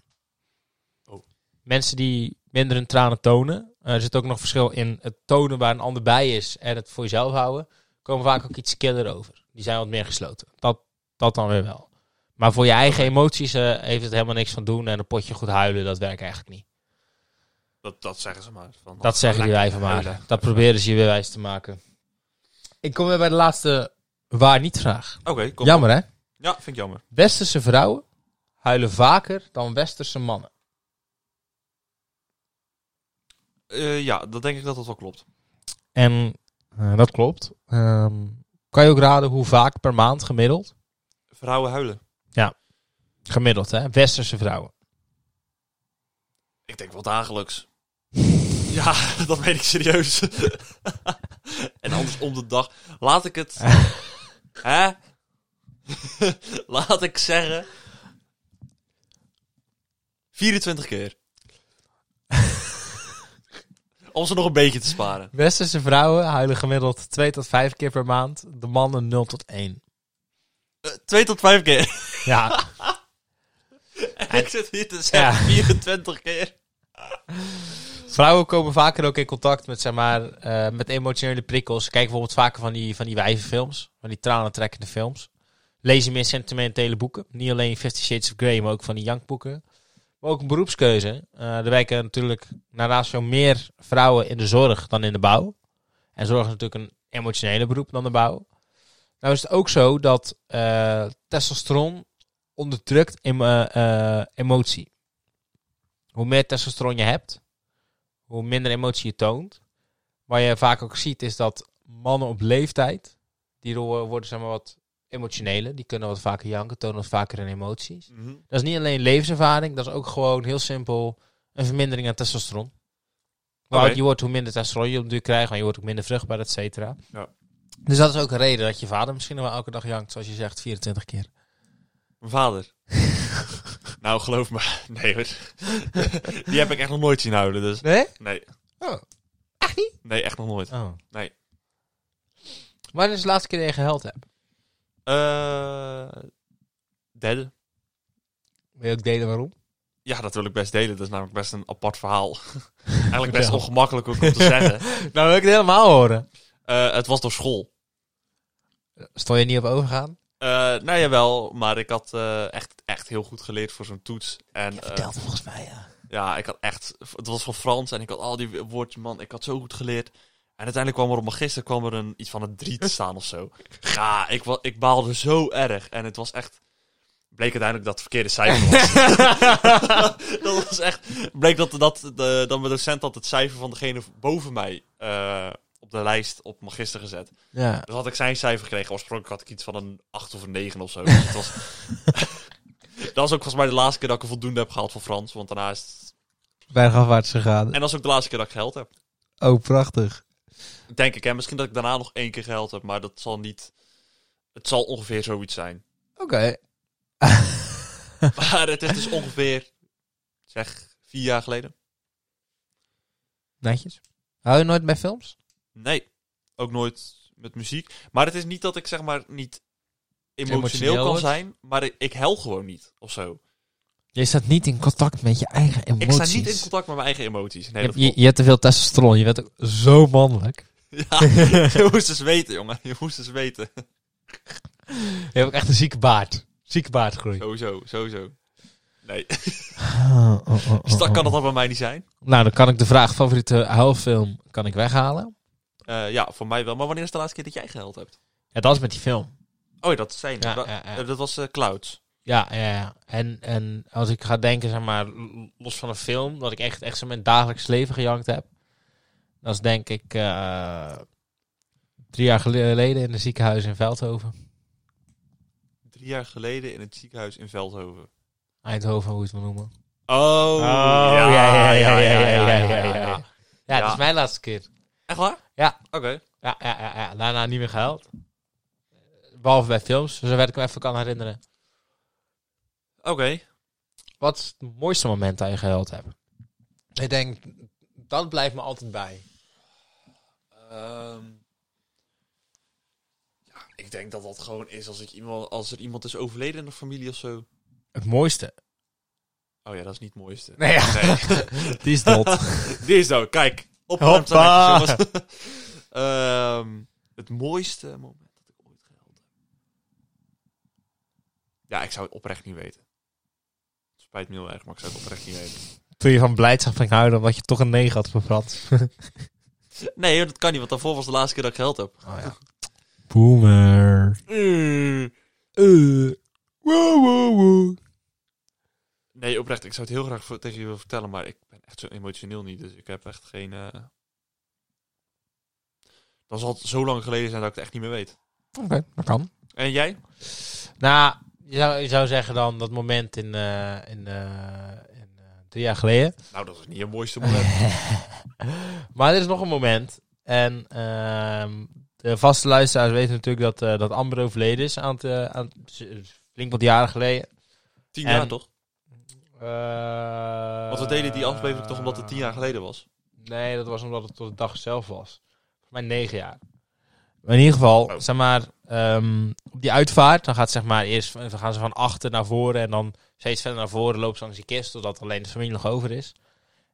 Speaker 2: Oh.
Speaker 1: Mensen die minder hun tranen tonen, eh, er zit ook nog verschil in het tonen waar een ander bij is en het voor jezelf houden, komen vaak ook iets killer over. Die zijn wat meer gesloten. Dat, dat dan weer wel. Maar voor je eigen emoties eh, heeft het helemaal niks van doen. En een potje goed huilen, dat werkt eigenlijk niet.
Speaker 2: Dat, dat zeggen ze maar. Van,
Speaker 1: Dat zeggen die
Speaker 2: Lekker
Speaker 1: wijven maar.
Speaker 2: huilen.
Speaker 1: Dat proberen ze je weer wijs te maken. Ik kom weer bij de laatste waar niet vraag.
Speaker 2: Oké, kom.
Speaker 1: Jammer hè?
Speaker 2: Ja, vind ik jammer.
Speaker 1: Westerse vrouwen huilen vaker dan westerse mannen.
Speaker 2: Eh, ja, dan denk ik dat dat wel klopt.
Speaker 1: En eh, dat klopt. Ehm, kan je ook raden hoe vaak per maand gemiddeld?
Speaker 2: Vrouwen huilen.
Speaker 1: Gemiddeld hè? Westerse vrouwen.
Speaker 2: Ik denk wel dagelijks. ja, dat meen ik serieus. en anders om de dag. Laat ik het. hè? Laat ik zeggen. 24 keer. om ze nog een beetje te sparen.
Speaker 1: Westerse vrouwen huilen gemiddeld 2 tot 5 keer per maand. De mannen 0 tot 1.
Speaker 2: Eh, Twee tot vijf keer.
Speaker 1: Ja,
Speaker 2: En ik zit hier te zeggen 24 keer.
Speaker 1: Vrouwen komen vaker ook in contact met, zeg maar, eh, met emotionele prikkels. Kijk bijvoorbeeld vaker van die, van die wijvenfilms, van die tranentrekkende films. Lezen meer sentimentele boeken. Niet alleen Fifty Shades of Grey, maar ook van die jankboeken. Maar ook een beroepskeuze. Eh er werken natuurlijk naar ratio meer vrouwen in de zorg dan in de bouw. En zorg is natuurlijk een emotionele beroep dan de bouw. Nou is het ook zo dat eh, testosteron onderdrukt em- eh, eh, emotie. Hoe meer testosteron je hebt, hoe minder emotie je toont. Wat je vaak ook ziet is dat mannen op leeftijd, die ro- worden zeg maar wat emotioneler, die kunnen wat vaker janken, tonen wat vaker hun emoties. Dat is niet alleen levenservaring, dat is ook gewoon heel simpel een vermindering aan testosteron. Hoe
Speaker 2: Oké.
Speaker 1: ouder je wordt, hoe minder testosteron je op de duur krijgt, want je wordt ook minder vruchtbaar, et cetera.
Speaker 2: Ja.
Speaker 1: Dus dat is ook een reden dat je vader misschien nog wel elke dag jankt, zoals je zegt, 24 keer.
Speaker 2: Mijn vader. nou, geloof me. Nee hoor. Die heb ik echt nog nooit zien huilen, dus.
Speaker 1: Nee?
Speaker 2: Nee.
Speaker 1: Oh.
Speaker 2: Nee, echt nog nooit.
Speaker 1: oh.
Speaker 2: Nee.
Speaker 1: Wanneer is de laatste keer dat je gehuild hebt?
Speaker 2: Eh derde.
Speaker 1: Wil je ook delen waarom?
Speaker 2: Ja, dat wil ik best delen. Dat is namelijk best een apart verhaal. Eigenlijk best
Speaker 1: Vertel.
Speaker 2: ongemakkelijk ook om te zeggen.
Speaker 1: Nou, wil ik het helemaal horen.
Speaker 2: Eh, het was door school.
Speaker 1: Stond je niet op overgaan?
Speaker 2: Eh nou jawel, maar ik had eh, echt, echt heel goed geleerd voor zo'n toets. En, eh,
Speaker 1: het volgens mij, ja.
Speaker 2: ja, ik had echt... Het was van Frans en ik had al die woordjes, man. Ik had zo goed geleerd. En uiteindelijk kwam er op mijn gisteren kwam er een, iets van een drie te staan of zo. Ja, ik, wa- ik baalde zo erg. En het was echt... Bleek uiteindelijk dat het verkeerde cijfer was. dat was echt... Bleek dat, dat, de, dat mijn docent had het cijfer van degene boven mij eh, op de lijst op mijn gisteren gezet.
Speaker 1: Ja.
Speaker 2: Dus had ik zijn cijfer gekregen. Oorspronkelijk had ik iets van een 8 of een 9 of zo. Dus het was... dat was ook volgens mij de laatste keer dat ik een voldoende heb gehaald voor Frans. Want daarna is het...
Speaker 1: Bergafwaarts gegaan.
Speaker 2: En dat is ook de laatste keer dat ik geld heb.
Speaker 1: Oh, prachtig.
Speaker 2: Denk ik, hè. Misschien dat ik daarna nog één keer geld heb, maar dat zal niet... Het zal ongeveer zoiets zijn.
Speaker 1: Oké.
Speaker 2: Maar het is dus ongeveer, zeg, vier jaar geleden.
Speaker 1: Netjes. Hou je nooit bij films?
Speaker 2: Nee, ook nooit met muziek. Maar het is niet dat ik, zeg maar, niet emotioneel,
Speaker 1: Emotioneel
Speaker 2: kan
Speaker 1: wordt.
Speaker 2: zijn. Maar ik, ik huil gewoon niet, of zo.
Speaker 1: Je staat niet in contact met je eigen
Speaker 2: Ik
Speaker 1: emoties.
Speaker 2: sta niet in contact met mijn eigen emoties. Nee,
Speaker 1: je,
Speaker 2: dat
Speaker 1: je, je hebt te veel testosteron. Je bent ook zo mannelijk.
Speaker 2: klopt. Ja, je moest eens weten, jongen. Je moest eens weten.
Speaker 1: Je hebt ook echt een zieke baard. Zieke baardgroei.
Speaker 2: Sowieso, sowieso. Nee,
Speaker 1: Oh, oh, oh, oh,
Speaker 2: stak kan
Speaker 1: oh.
Speaker 2: dat dan bij mij niet zijn.
Speaker 1: Nou, dan kan ik de vraag favoriete huilfilm kan ik weghalen.
Speaker 2: Eh, ja, voor mij wel. Maar wanneer is de laatste keer dat jij gehuild hebt?
Speaker 1: Ja, dat is met die film.
Speaker 2: Oh, ja, dat zijn.
Speaker 1: Ja,
Speaker 2: dat,
Speaker 1: ja, ja.
Speaker 2: eh, dat was eh, Clouds.
Speaker 1: Ja, ja, ja. En, en als ik ga denken, zeg maar, l- los van een film, dat ik echt, echt zo mijn dagelijks leven gejankt heb. Dat is denk ik eh, drie jaar geleden in een ziekenhuis in Veldhoven.
Speaker 2: Drie jaar geleden in het ziekenhuis in Veldhoven.
Speaker 1: Eindhoven, hoe je het wil noemen.
Speaker 2: Oh,
Speaker 1: ja, ja, ja, ja, ja, ja, ja, ja. Ja, dat
Speaker 2: Ja.
Speaker 1: is mijn laatste keer.
Speaker 2: Echt waar?
Speaker 1: Ja.
Speaker 2: Oké.
Speaker 1: Ja, ja, ja, ja. daarna niet meer gehuild. Behalve bij films, zover ik me even kan herinneren.
Speaker 2: Oké.
Speaker 1: Wat is het mooiste moment dat je gehuild hebt? Ik denk, dat blijft me altijd bij.
Speaker 2: Ehm, ja, ik denk dat dat gewoon is als, ik iemand, als er iemand is overleden in de familie of zo.
Speaker 1: Het mooiste?
Speaker 2: Oh ja, dat is niet het mooiste.
Speaker 1: Nee, ja. die is dood.
Speaker 2: Die is zo, kijk. Opgeruimd zijn
Speaker 1: Hoppa.
Speaker 2: netjes, jongens. Ehm, het mooiste moment dat ik ooit gehuild heb. Ja, ik zou het oprecht niet weten. Het spijt me heel erg, maar ik zou het oprecht niet weten.
Speaker 1: Toen je van blijdschap ging huilen omdat je toch een 9 had voor Frans. Oh,
Speaker 2: Nee, joh, dat kan niet, want daarvoor was de laatste keer dat ik geld heb.
Speaker 1: Oh ja. Boomer.
Speaker 2: Mm.
Speaker 1: Eh. Wow, wow, wow.
Speaker 2: Nee, oprecht. Ik zou het heel graag voor, tegen je willen vertellen, maar ik ben echt zo emotioneel niet. Dus ik heb echt geen... eh, Dan zal het zo lang geleden zijn dat ik het echt niet meer weet.
Speaker 1: Oké, dat kan.
Speaker 2: En jij?
Speaker 1: Nou, je zou, je zou zeggen dan dat moment in, eh, in, eh, in eh, drie jaar geleden.
Speaker 2: Nou, dat is niet je mooiste moment.
Speaker 1: maar er is nog een moment. En ehm, de vaste luisteraars weten natuurlijk dat, eh, dat Amber overleden is. Aan het, eh, aan, flink wat jaren geleden.
Speaker 2: Tien
Speaker 1: En-
Speaker 2: jaar, toch?
Speaker 1: Eh,
Speaker 2: Want we deden die aflevering toch omdat het tien jaar geleden was.
Speaker 1: Nee, dat was omdat het tot de dag zelf was. Volgens mij negen jaar. Maar in ieder geval,
Speaker 2: Oh.
Speaker 1: zeg maar, ehm, op die uitvaart, dan gaat zeg maar eerst, dan gaan ze van achter naar voren en dan steeds verder naar voren loopt ze langs die kist, totdat alleen de familie nog over is.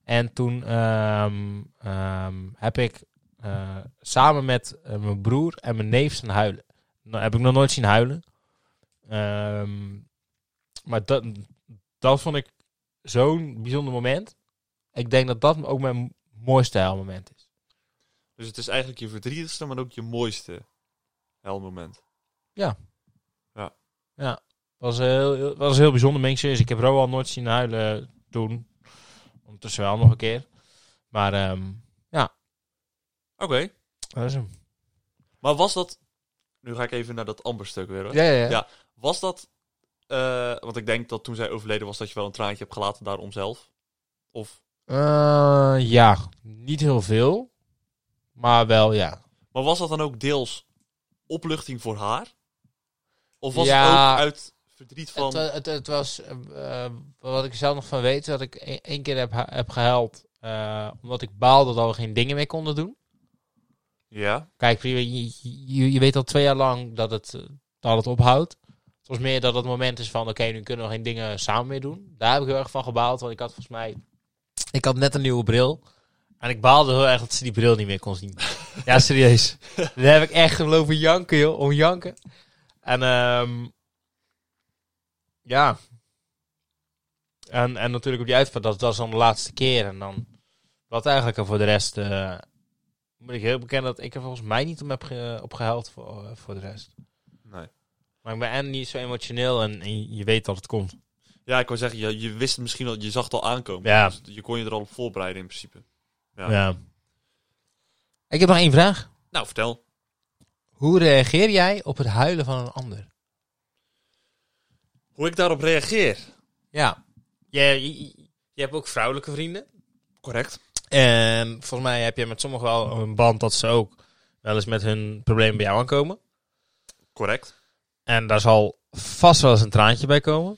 Speaker 1: En toen ehm, ehm, heb ik eh, samen met eh, mijn broer en mijn neef zijn huilen. Nou, heb ik nog nooit zien huilen. Ehm, maar dat, dat vond ik zo'n bijzonder moment. Ik denk dat dat ook mijn mooiste huilmoment is.
Speaker 2: Dus het is eigenlijk je verdrietigste, maar ook je mooiste helmoment.
Speaker 1: was heel, heel- was heel bijzonder, meen ik serieus. Ik heb Roal nooit zien huilen toen. Ondertussen wel nog een keer. Maar ehm,
Speaker 2: Oké.
Speaker 1: dat is hem.
Speaker 2: Maar was dat... Nu ga ik even naar dat amberstuk weer, hoor.
Speaker 1: ja,
Speaker 2: Ja. Was dat... eh, want ik denk dat toen zij overleden was, dat je wel een traantje hebt gelaten daarom zelf. Of...
Speaker 1: Eh, ja, niet heel veel. Maar wel, ja.
Speaker 2: Maar was dat dan ook deels opluchting voor haar? Of was
Speaker 1: Ja.
Speaker 2: het ook uit verdriet van...
Speaker 1: Het, wa- het, het was, eh, eh, wat ik er zelf nog van weet, dat ik e- één keer heb, hu- heb gehuild. eh, omdat ik baalde dat we geen dingen meer konden doen.
Speaker 2: Ja,
Speaker 1: Kijk, je, je, je- je weet al twee jaar lang dat het, eh, dat het ophoudt. Het was meer dat het moment is van, oké, nu kunnen we geen dingen samen meer doen. Daar heb ik heel erg van gebaald, want ik had volgens mij... Ik had net een nieuwe bril. En ik baalde heel erg dat ze die bril niet meer kon zien. ja, serieus. Daar heb ik echt gelopen janken, joh. Om janken. En, ehm Ja. En, en natuurlijk op die uitvaart, dat, dat is dan de laatste keer. En dan... Wat eigenlijk en voor de rest... eh, moet ik heel bekennen dat ik er volgens mij niet om heb ge- op gehuild voor, eh, voor de rest.
Speaker 2: nee.
Speaker 1: Maar ik ben en niet zo emotioneel en, en je weet dat het komt.
Speaker 2: Ja, ik wou zeggen, je, je wist het misschien al, je zag het al aankomen.
Speaker 1: Ja.
Speaker 2: Dus je kon je er al op voorbereiden in principe. Ja.
Speaker 1: Ik heb nog één vraag.
Speaker 2: Nou, vertel.
Speaker 1: Hoe reageer jij op het huilen van een ander?
Speaker 2: Hoe ik daarop reageer.
Speaker 1: Ja. Je, je, je hebt ook vrouwelijke vrienden.
Speaker 2: Correct.
Speaker 1: En volgens mij heb je met sommigen wel een band dat ze ook wel eens met hun problemen bij jou aankomen.
Speaker 2: Correct.
Speaker 1: En daar zal vast wel eens een traantje bij komen.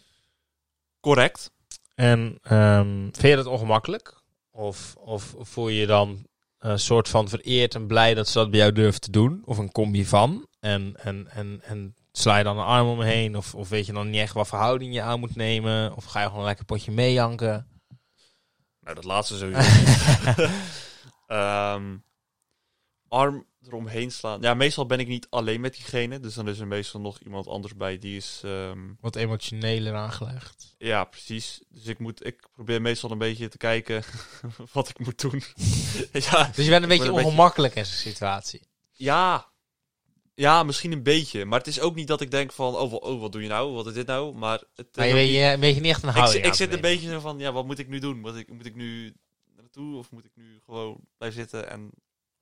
Speaker 2: Correct.
Speaker 1: En ehm, vind je dat ongemakkelijk? Of, of voel je je dan een soort van vereerd en blij dat ze dat bij jou durven te doen? Of een combi van? En, en, en, en Sla je dan een arm omheen? Of, of weet je dan niet echt wat verhouding je aan moet nemen? Of ga je gewoon lekker potje meejanken?
Speaker 2: Nou, dat laatste sowieso. niet. Ehm, arm eromheen slaan. Ja, meestal ben ik niet alleen met diegene. Dus dan is er meestal nog iemand anders bij. Die is... ehm,
Speaker 1: Wat emotioneler aangelegd.
Speaker 2: Ja, precies. Dus ik, moet, ik probeer meestal een beetje te kijken wat ik moet doen. ja,
Speaker 1: Dus je bent een
Speaker 2: Ik
Speaker 1: beetje
Speaker 2: word een
Speaker 1: ongemakkelijk in zo'n situatie.
Speaker 2: ja, ja, misschien een beetje. Maar het is ook niet dat ik denk van, oh, wa- oh wat doe je nou? Wat is dit nou? Maar, het,
Speaker 1: Maar je weet, je weet je niet echt een
Speaker 2: ik,
Speaker 1: houding
Speaker 2: zi- ik
Speaker 1: aan te
Speaker 2: zit een
Speaker 1: nemen.
Speaker 2: beetje zo van, ja, wat moet ik nu doen? Wat ik, moet ik nu naartoe of moet ik nu gewoon blijven zitten en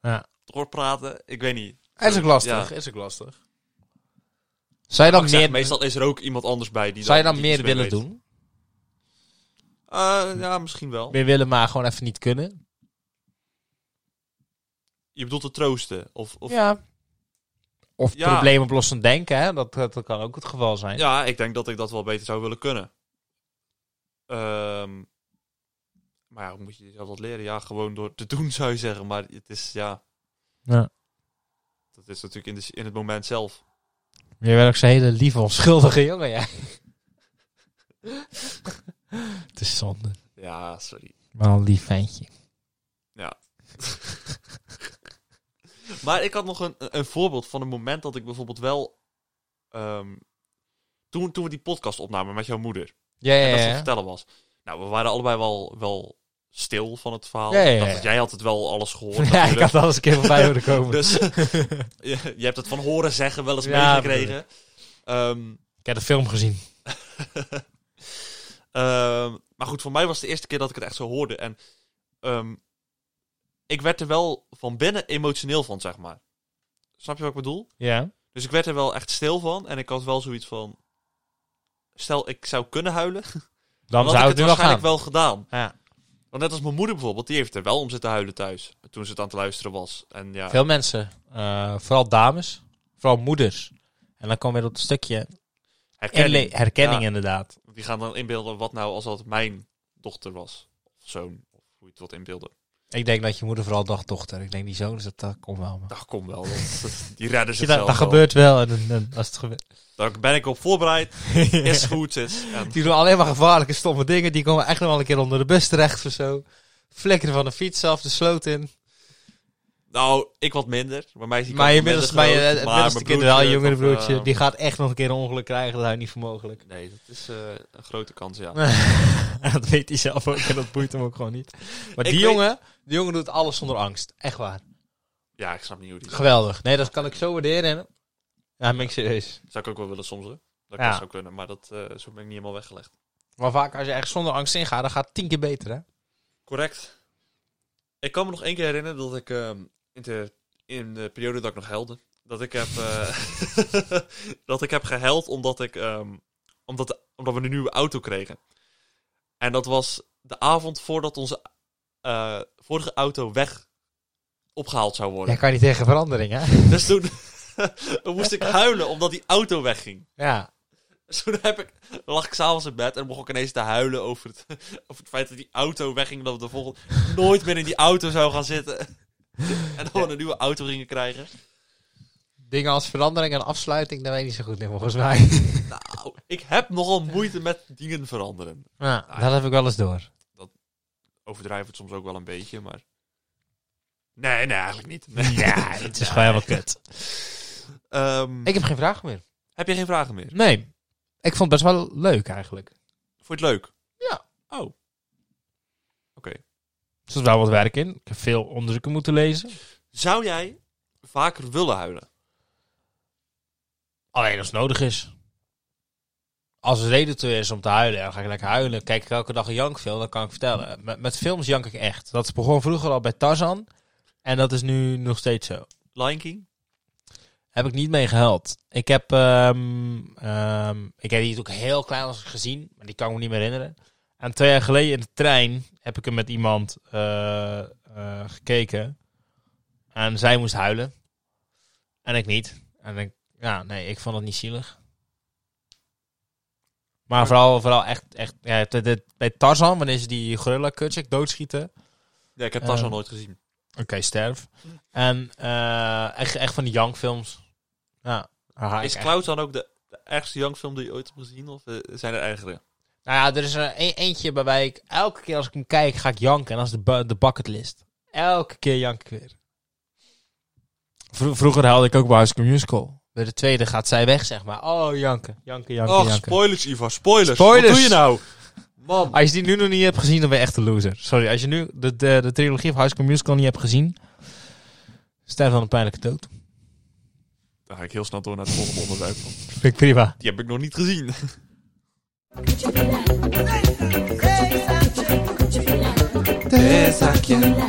Speaker 1: Ja.
Speaker 2: doorpraten? Ik weet niet.
Speaker 1: Is ook lastig, is ook lastig. Zou je
Speaker 2: Maar
Speaker 1: dan
Speaker 2: ik zeg,
Speaker 1: meer,
Speaker 2: meestal is er ook iemand anders bij die
Speaker 1: zou je
Speaker 2: dan-
Speaker 1: dan
Speaker 2: die
Speaker 1: meer
Speaker 2: iets
Speaker 1: willen
Speaker 2: weet.
Speaker 1: doen?
Speaker 2: Eh, ja, misschien wel.
Speaker 1: Meer willen, maar gewoon even niet kunnen?
Speaker 2: Je bedoelt te troosten? Of, of
Speaker 1: ja. Of
Speaker 2: Ja.
Speaker 1: probleemoplossend denken, hè? Dat, dat, dat kan ook het geval zijn.
Speaker 2: Ja, ik denk dat ik dat wel beter zou willen kunnen. Ehm, maar ja, hoe moet je jezelf dat leren? Ja, gewoon door te doen zou je zeggen. Maar het is, ja...
Speaker 1: Ja.
Speaker 2: Dat is natuurlijk in, de, s- in het moment zelf.
Speaker 1: Je bent ook zo'n hele lieve, onschuldige jongen, ja. het is zonde.
Speaker 2: Ja, sorry.
Speaker 1: Maar een lief ventje.
Speaker 2: Maar ik had nog een, een voorbeeld van een moment dat ik bijvoorbeeld wel... ehm, toen, toen we die podcast opnamen met jouw moeder.
Speaker 1: Ja,
Speaker 2: En
Speaker 1: ja,
Speaker 2: dat ze aan
Speaker 1: ja.
Speaker 2: het vertellen was. Nou, we waren allebei wel, wel stil van het verhaal.
Speaker 1: Ja, ja,
Speaker 2: Ik dacht
Speaker 1: ja.
Speaker 2: dat jij had het wel alles gehoord.
Speaker 1: Ja, ik
Speaker 2: natuurlijk.
Speaker 1: had alles een keer voorbij horen komen.
Speaker 2: Dus je, je hebt het van horen zeggen wel eens
Speaker 1: Ja,
Speaker 2: meegekregen. Ehm,
Speaker 1: Ik heb de film gezien.
Speaker 2: ehm, maar goed, voor mij was het de eerste keer dat ik het echt zo hoorde. En ehm, ik werd er wel van binnen emotioneel van, zeg maar. Snap je wat ik bedoel?
Speaker 1: Ja.
Speaker 2: Dus ik werd er wel echt stil van. En ik had wel zoiets van... Stel, ik zou kunnen huilen.
Speaker 1: Dan
Speaker 2: had
Speaker 1: zou
Speaker 2: ik
Speaker 1: het
Speaker 2: het
Speaker 1: nu wel gaan.
Speaker 2: waarschijnlijk wel gedaan.
Speaker 1: Ja.
Speaker 2: Want net als mijn moeder bijvoorbeeld, die heeft er wel om zitten huilen thuis. Toen ze het aan het luisteren was. En ja,
Speaker 1: Veel mensen, eh, vooral dames, vooral moeders. En dan komen we weer op het stukje
Speaker 2: herkenning.
Speaker 1: herkenning, herkenning
Speaker 2: Ja.
Speaker 1: inderdaad.
Speaker 2: Want Die gaan dan inbeelden wat nou als dat mijn dochter was. Of zoon. Of hoe je het wilt inbeelden.
Speaker 1: Ik denk dat je moeder vooral dacht dochter. Ik denk die zoon, dus dat, dat komt wel. man.
Speaker 2: Dat komt wel. dat- die redden
Speaker 1: Zie je,
Speaker 2: zichzelf
Speaker 1: Dat, dat
Speaker 2: wel.
Speaker 1: gebeurt wel. En, en- en als het gebeurt.
Speaker 2: Daar ben ik op voorbereid. Is goed. Is. En,
Speaker 1: Die doen alleen maar gevaarlijke, stomme dingen. Die komen echt nog wel een keer onder de bus terecht of zo. Flikkeren van de fiets af, de sloot in.
Speaker 2: nou, ik wat minder. Bij mij is die
Speaker 1: Maar eh,
Speaker 2: kans
Speaker 1: je middelste,
Speaker 2: minder
Speaker 1: maar je,
Speaker 2: groot,
Speaker 1: het middelste
Speaker 2: mijn
Speaker 1: kind wel,
Speaker 2: broertje
Speaker 1: een jongere
Speaker 2: of, eh,
Speaker 1: broertje, die gaat echt nog een keer een ongeluk krijgen. Dat houdt niet voor mogelijk.
Speaker 2: Nee, dat is eh, een grote kans, ja.
Speaker 1: En dat weet hij zelf ook en dat boeit hem ook gewoon niet. Maar
Speaker 2: Ik
Speaker 1: die
Speaker 2: weet-
Speaker 1: jongen, die jongen doet alles zonder angst. Echt waar.
Speaker 2: Ja, ik snap niet hoe die...
Speaker 1: Geweldig. Nee, dat kan ik zo waarderen. En- Ja, ben ik serieus.
Speaker 2: Zou ik ook wel willen soms, hè. Dat
Speaker 1: Ja.
Speaker 2: kan zou kunnen. Maar dat, eh, zo ben ik niet helemaal weggelegd.
Speaker 1: Maar vaak als je echt zonder angst ingaat, dan gaat het tien keer beter, hè?
Speaker 2: Oh, Correct. Ik kan me nog één keer herinneren dat ik ehm, in, de, in de periode dat ik nog helde, dat ik heb, eh, dat ik heb geheld omdat ik ehm, omdat, omdat we een nieuwe auto kregen. En dat was de avond voordat onze eh, vorige auto weg opgehaald zou worden.
Speaker 1: Jij kan niet tegen verandering, hè?
Speaker 2: Dus toen moest ik huilen omdat die auto wegging.
Speaker 1: Ja.
Speaker 2: Dus toen heb ik, lag ik s'avonds in bed en begon ik ineens te huilen over het, over het feit dat die auto wegging. en Dat we de volgende nooit meer in die auto zou gaan zitten. En dan we een nieuwe auto gingen krijgen.
Speaker 1: Dingen als verandering en afsluiting, daar weet je niet zo goed in, volgens mij.
Speaker 2: Nou, ik heb nogal moeite met dingen veranderen.
Speaker 1: Ja, Ah, dat heb ik wel eens door.
Speaker 2: Overdrijven het soms ook wel een beetje, maar... Nee, nee, eigenlijk niet.
Speaker 1: Ja, het is gewoon helemaal kut.
Speaker 2: Ehm,
Speaker 1: Ik heb geen vraag meer.
Speaker 2: Heb je geen vragen meer?
Speaker 1: Nee. Ik vond het best wel leuk, eigenlijk.
Speaker 2: Vond je het leuk?
Speaker 1: Ja.
Speaker 2: Oh. Oké.
Speaker 1: Er zit Dus wel wat werk in. Ik heb veel onderzoeken moeten lezen.
Speaker 2: Zou jij vaker willen huilen?
Speaker 1: Alleen als het nodig is. Als er reden toe is om te huilen, dan ga ik lekker huilen. Kijk ik elke dag een jankfilm, dan kan ik vertellen. Met, met films jank ik echt. Dat begon vroeger al bij Tarzan. En dat is nu nog steeds zo.
Speaker 2: Lion King?
Speaker 1: Heb ik niet mee gehuild. Ik heb, ehm, ehm, ik heb die ook heel klein als gezien, maar die kan ik me niet meer herinneren. En twee jaar geleden in de trein heb ik hem met iemand eh, eh, gekeken. En zij moest huilen. En ik niet. En ik, ja, nee, ik vond het niet zielig. Maar vooral, vooral echt, echt ja, dit- dit- bij Tarzan, wanneer ze die gorilla kutje doodschieten.
Speaker 2: Ja, ik heb Tarzan
Speaker 1: Ehm,
Speaker 2: nooit gezien.
Speaker 1: eh, Oké, sterf. En eh, echt, echt van die Young films. Ja, Haha,
Speaker 2: Is
Speaker 1: ik-
Speaker 2: Cloud dan ook de, de ergste jangfilm die je ooit hebt gezien? Of eh, zijn er ergere?
Speaker 1: Nou ja, er is er een, eentje waarbij ik elke keer als ik hem kijk, ga ik janken. En dat is de, bu- de bucketlist. Elke keer jank ik weer. Vro- vroeger haalde ik ook bij High School Musical. Bij de tweede gaat zij weg, zeg maar. Oh, janken. Janken, janken,
Speaker 2: Och,
Speaker 1: janken.
Speaker 2: spoilers, Ivar. Spoilers.
Speaker 1: Spoilers.
Speaker 2: Wat doe je nou? Man.
Speaker 1: Als je die nu nog niet hebt gezien, dan ben je echt een loser. Sorry, als je nu de, de, de trilogie van High School Musical niet hebt gezien... sterf dan een pijnlijke dood.
Speaker 2: Dan ga ik heel snel door naar het volgende onderwerp. want
Speaker 1: Vind ik prima.
Speaker 2: Die heb ik nog niet gezien. Theezakje.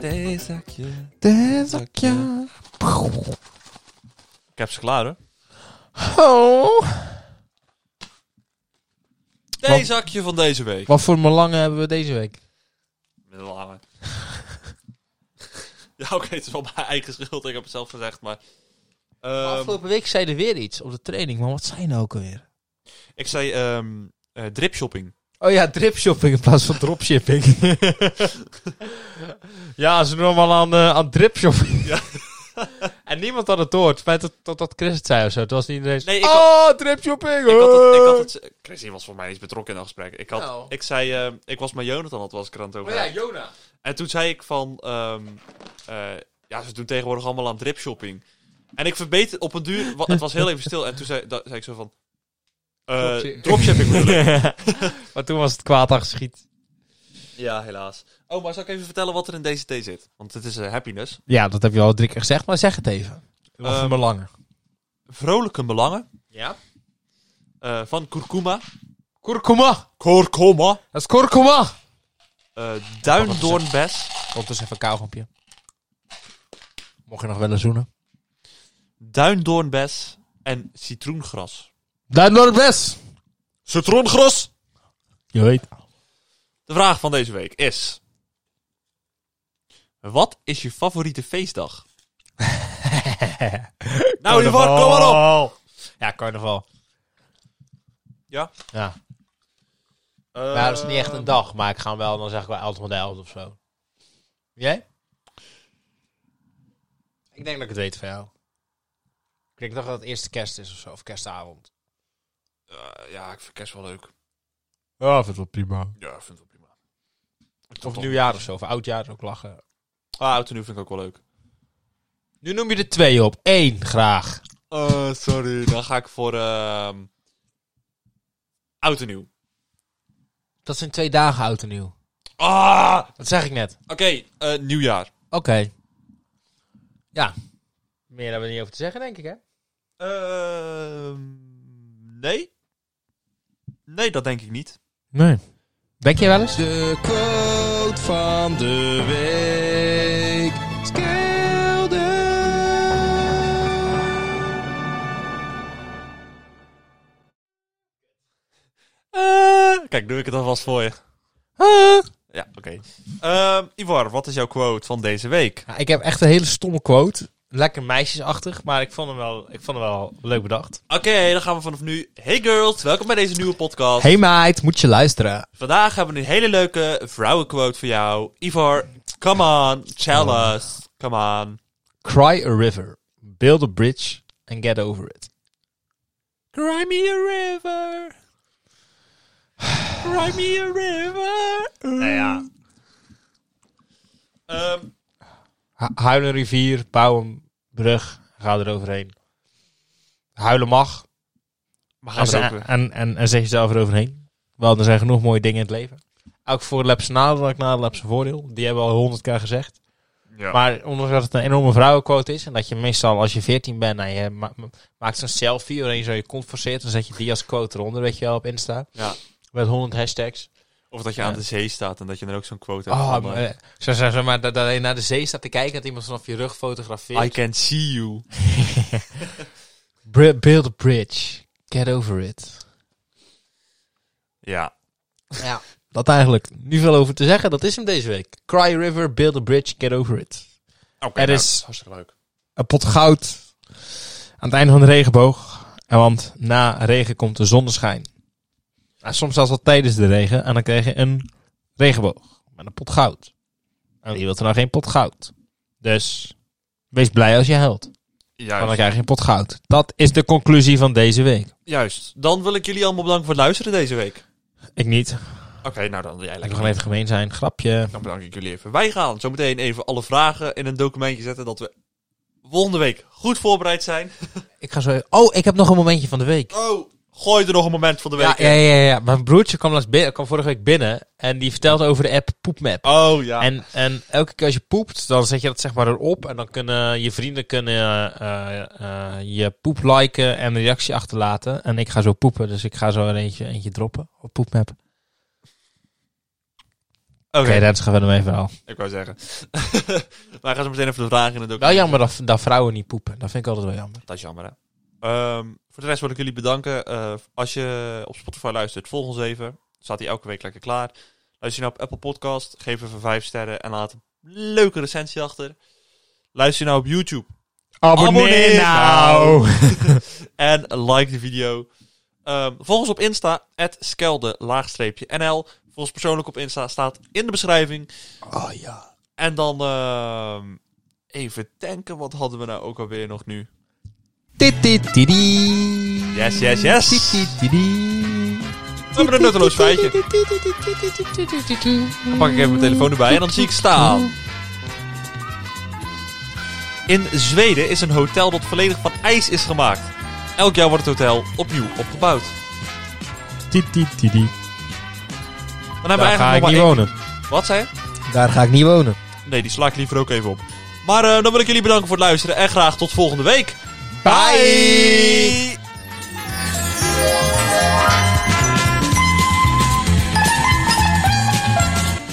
Speaker 2: Theezakje. Theezakje. Ik heb ze klaar, hè?
Speaker 1: Oh.
Speaker 2: Theezakje van deze week.
Speaker 1: Wat voor belangen hebben we deze week?
Speaker 2: Met een lange. ja, oké, het is wel mijn eigen schuld. Ik heb het zelf gezegd, maar... ehm,
Speaker 1: Afgelopen week zei er weer iets op de training. Maar wat zijn nou ook alweer?
Speaker 2: ik zei ehm eh dripshopping.
Speaker 1: Oh ja, dripshopping in plaats van dropshipping. ja, ze doen allemaal aan, eh, aan dripshopping.
Speaker 2: Ja.
Speaker 1: en niemand had het door. Het feit dat, dat, dat Chris het zei of zo. Het was niet ineens...
Speaker 2: Nee, ik
Speaker 1: oh,
Speaker 2: had-
Speaker 1: dripshopping! oh."
Speaker 2: Ik had het, ik
Speaker 1: hoor.
Speaker 2: had het, Chrissy was voor mij niet betrokken in dat gesprek. Ik, had,
Speaker 1: Nou. Oh,
Speaker 2: ik zei, ehm, ik was met Jonathan, dat was ik er aan het over. hebben.
Speaker 1: Jona.
Speaker 2: En toen zei ik van, ehm, eh, ja, ze doen tegenwoordig allemaal aan dripshopping. En ik verbeter op een duur, wa- het was heel even stil. En toen zei, da- zei ik zo van, eh,
Speaker 1: Dropshipping.
Speaker 2: dropshipping bedoel ik.
Speaker 1: maar toen was het kwaad aan geschiet.
Speaker 2: Ja, helaas. Oh, maar zal ik even vertellen wat er in deze thee zit? Want het is eh, happiness.
Speaker 1: Ja, dat heb je al drie keer gezegd, maar zeg het even. Wat voor
Speaker 2: Ehm,
Speaker 1: belangen?
Speaker 2: Vrolijke Belangen
Speaker 1: Ja?
Speaker 2: eh, van Kurkuma.
Speaker 1: Kurkuma!
Speaker 2: Kurkuma.
Speaker 1: Dat is kurkuma!
Speaker 2: Eh, duindoornbes.
Speaker 1: Komt dus even een kauwgompje. Mocht je nog willen zoenen?
Speaker 2: Duindoornbes en citroengras.
Speaker 1: Daar nog best!
Speaker 2: Citroengras?
Speaker 1: Je weet.
Speaker 2: De vraag van deze week is... Wat is je favoriete feestdag? nou, Ivar, kom maar op!
Speaker 1: Ja, carnaval.
Speaker 2: Ja?
Speaker 1: Ja. Nou, dat is niet echt een dag, maar ik ga wel, dan zeg ik wel 11 van de 11 of zo. Jij? Ik denk dat ik het weet van jou. Ik denk toch dat het eerste kerst is of zo, of kerstavond.
Speaker 2: Eh, ja, ik vind kerst wel leuk.
Speaker 1: Ja, vind het wel prima.
Speaker 2: Ja, ik vind het wel prima. Ik
Speaker 1: Of
Speaker 2: toch-
Speaker 1: nieuwjaar of zo, of oudjaar ook lachen.
Speaker 2: Ah, oud en nieuw vind ik ook wel leuk.
Speaker 1: Nu noem je er twee op. Eén, graag. Oh,
Speaker 2: Eh, sorry. Dan ga ik voor... ehm oud en nieuw.
Speaker 1: Dat zijn twee dagen oud en nieuw.
Speaker 2: Ah!
Speaker 1: Dat zeg ik net.
Speaker 2: Oké, eh, nieuwjaar.
Speaker 1: Oké. Ja. Meer hebben we niet over te zeggen, denk ik, hè?
Speaker 2: Ehm, nee. Nee, dat denk ik niet.
Speaker 1: Nee. Denk je wel eens?
Speaker 4: De quote van de week. Skelder.
Speaker 2: Eh, kijk, doe ik het alvast voor je.
Speaker 1: Ah.
Speaker 2: Ja, oké. Ehm, Ivar, wat is jouw quote van deze week?
Speaker 1: Ja, ik heb echt een hele stomme quote. Lekker meisjesachtig, maar ik vond hem wel, ik vond hem wel leuk bedacht.
Speaker 2: Oké, dan gaan we vanaf nu. Hey girls, welkom bij deze nieuwe podcast.
Speaker 1: Hey meid, moet je luisteren.
Speaker 2: Vandaag hebben we een hele leuke vrouwenquote voor jou. Ivar, come on, tell us. Come on.
Speaker 1: Cry a river, build a bridge and get over it.
Speaker 2: Cry me a river. Cry me a river.
Speaker 1: Nou ja.
Speaker 2: Ehm,
Speaker 1: Hu- Huil een rivier, bouw een brug, ga eroverheen. Huilen mag.
Speaker 2: maar
Speaker 1: En,
Speaker 2: gaan
Speaker 1: ze-
Speaker 2: we er ook weer.
Speaker 1: en, en, en zet jezelf eroverheen. Wel, er zijn genoeg mooie dingen in het leven. Elk voordeel heb zijn nadeel, elk nadeel heb zijn voordeel. Die hebben we al honderd keer gezegd.
Speaker 2: Ja.
Speaker 1: Maar ondanks dat het een enorme vrouwenquote is... en dat je meestal als je 14 bent en je ma- ma- maakt zo'n selfie... waarin je zo je kont forceert... dan zet je die als quote eronder, weet je wel, op Insta.
Speaker 2: Ja.
Speaker 1: Met 100 hashtags.
Speaker 2: Of dat je
Speaker 1: Ja.
Speaker 2: aan de zee staat en dat je dan ook zo'n quote hebt.
Speaker 1: Oh,
Speaker 2: van,
Speaker 1: maar,
Speaker 2: eh,
Speaker 1: eh, zo, zo, zo, maar dat, dat je naar de zee staat te kijken... dat iemand vanaf je rug
Speaker 2: I
Speaker 1: fotografeert.
Speaker 2: can see you.
Speaker 1: Bri- build a bridge. Get over it.
Speaker 2: Ja.
Speaker 1: Ja. Dat eigenlijk niet veel over te zeggen. Dat is hem deze week. Cry River, build a bridge, get over it.
Speaker 2: Oké,
Speaker 1: Er
Speaker 2: nou,
Speaker 1: is-
Speaker 2: hartstikke leuk.
Speaker 1: Een pot goud aan het einde van de regenboog. En want na regen komt de zonneschijn. En soms zelfs al tijdens de regen. En dan krijg je een regenboog met een pot goud. En wie wil er nou geen pot goud? Dus wees blij als je huilt. Dan
Speaker 2: Juist.
Speaker 1: krijg je een pot goud. Dat is de conclusie van deze week.
Speaker 2: Juist. Dan wil ik jullie allemaal bedanken voor het luisteren deze week.
Speaker 1: Ik niet.
Speaker 2: Oké, nou dan wil jij
Speaker 1: Ik
Speaker 2: lekker.
Speaker 1: wil gewoon even gemeen zijn. Grapje.
Speaker 2: Dan bedank ik jullie even. Wij gaan zo meteen even alle vragen in een documentje zetten dat we volgende week goed voorbereid zijn.
Speaker 1: Ik ga zo... Oh, ik heb nog een momentje van de week.
Speaker 2: Oh, gooi er nog een moment van de
Speaker 1: Ja,
Speaker 2: week
Speaker 1: ja,
Speaker 2: in.
Speaker 1: ja, ja. Mijn broertje kwam, laatst binnen, kwam vorige week binnen en die vertelde over de app Poepmap.
Speaker 2: Oh ja.
Speaker 1: En, en elke keer als je poept, dan zet je dat zeg maar erop. En dan kunnen je vrienden kunnen, eh, eh, je poep liken en een reactie achterlaten. En ik ga zo poepen, dus ik ga zo er eentje, eentje droppen op poepmap. Oké,
Speaker 2: Oké,
Speaker 1: dat is gewoon mijn verhaal.
Speaker 2: ik wou zeggen. Wij gaan zo meteen even de vragen in een documentje.
Speaker 1: Wel jammer dat, dat vrouwen niet poepen. Dat vind ik altijd wel jammer.
Speaker 2: Dat is jammer, hè? Ehm, voor de rest wil ik jullie bedanken. Eh, als je op Spotify luistert, volg ons even. Staat hij elke week lekker klaar. Luister je nou op Apple Podcast, geef even 5 sterren en laat een leuke recensie achter. Luister je nou op YouTube Abonneer nou. en like de video. Ehm, volg ons op Insta, skelde-nl. Volg ons persoonlijk op Insta, staat in de beschrijving.
Speaker 1: Oh ja.
Speaker 2: En dan ehm, even denken, wat hadden we nou ook alweer nog nu?
Speaker 1: Dit, dit, didi.
Speaker 2: Yes, yes, yes.
Speaker 1: Dit, dit, didi.
Speaker 2: We hebben een nutteloos feitje. Dan pak ik even mijn telefoon erbij en dan zie ik staan. In Zweden is een hotel dat volledig van ijs is gemaakt. Elk jaar wordt het hotel opnieuw opgebouwd.
Speaker 1: Dit, dit, didi.
Speaker 2: Dan hebben we
Speaker 1: Daar
Speaker 2: eigenlijk
Speaker 1: ga ik
Speaker 2: nog
Speaker 1: niet
Speaker 2: maar één-
Speaker 1: wonen.
Speaker 2: Wat zei je?
Speaker 1: Daar ga ik niet wonen.
Speaker 2: Nee, die sla ik liever ook even op. Maar eh, dan wil ik jullie bedanken voor het luisteren en graag tot volgende week.
Speaker 1: Bye!
Speaker 2: Bye.
Speaker 4: Bye.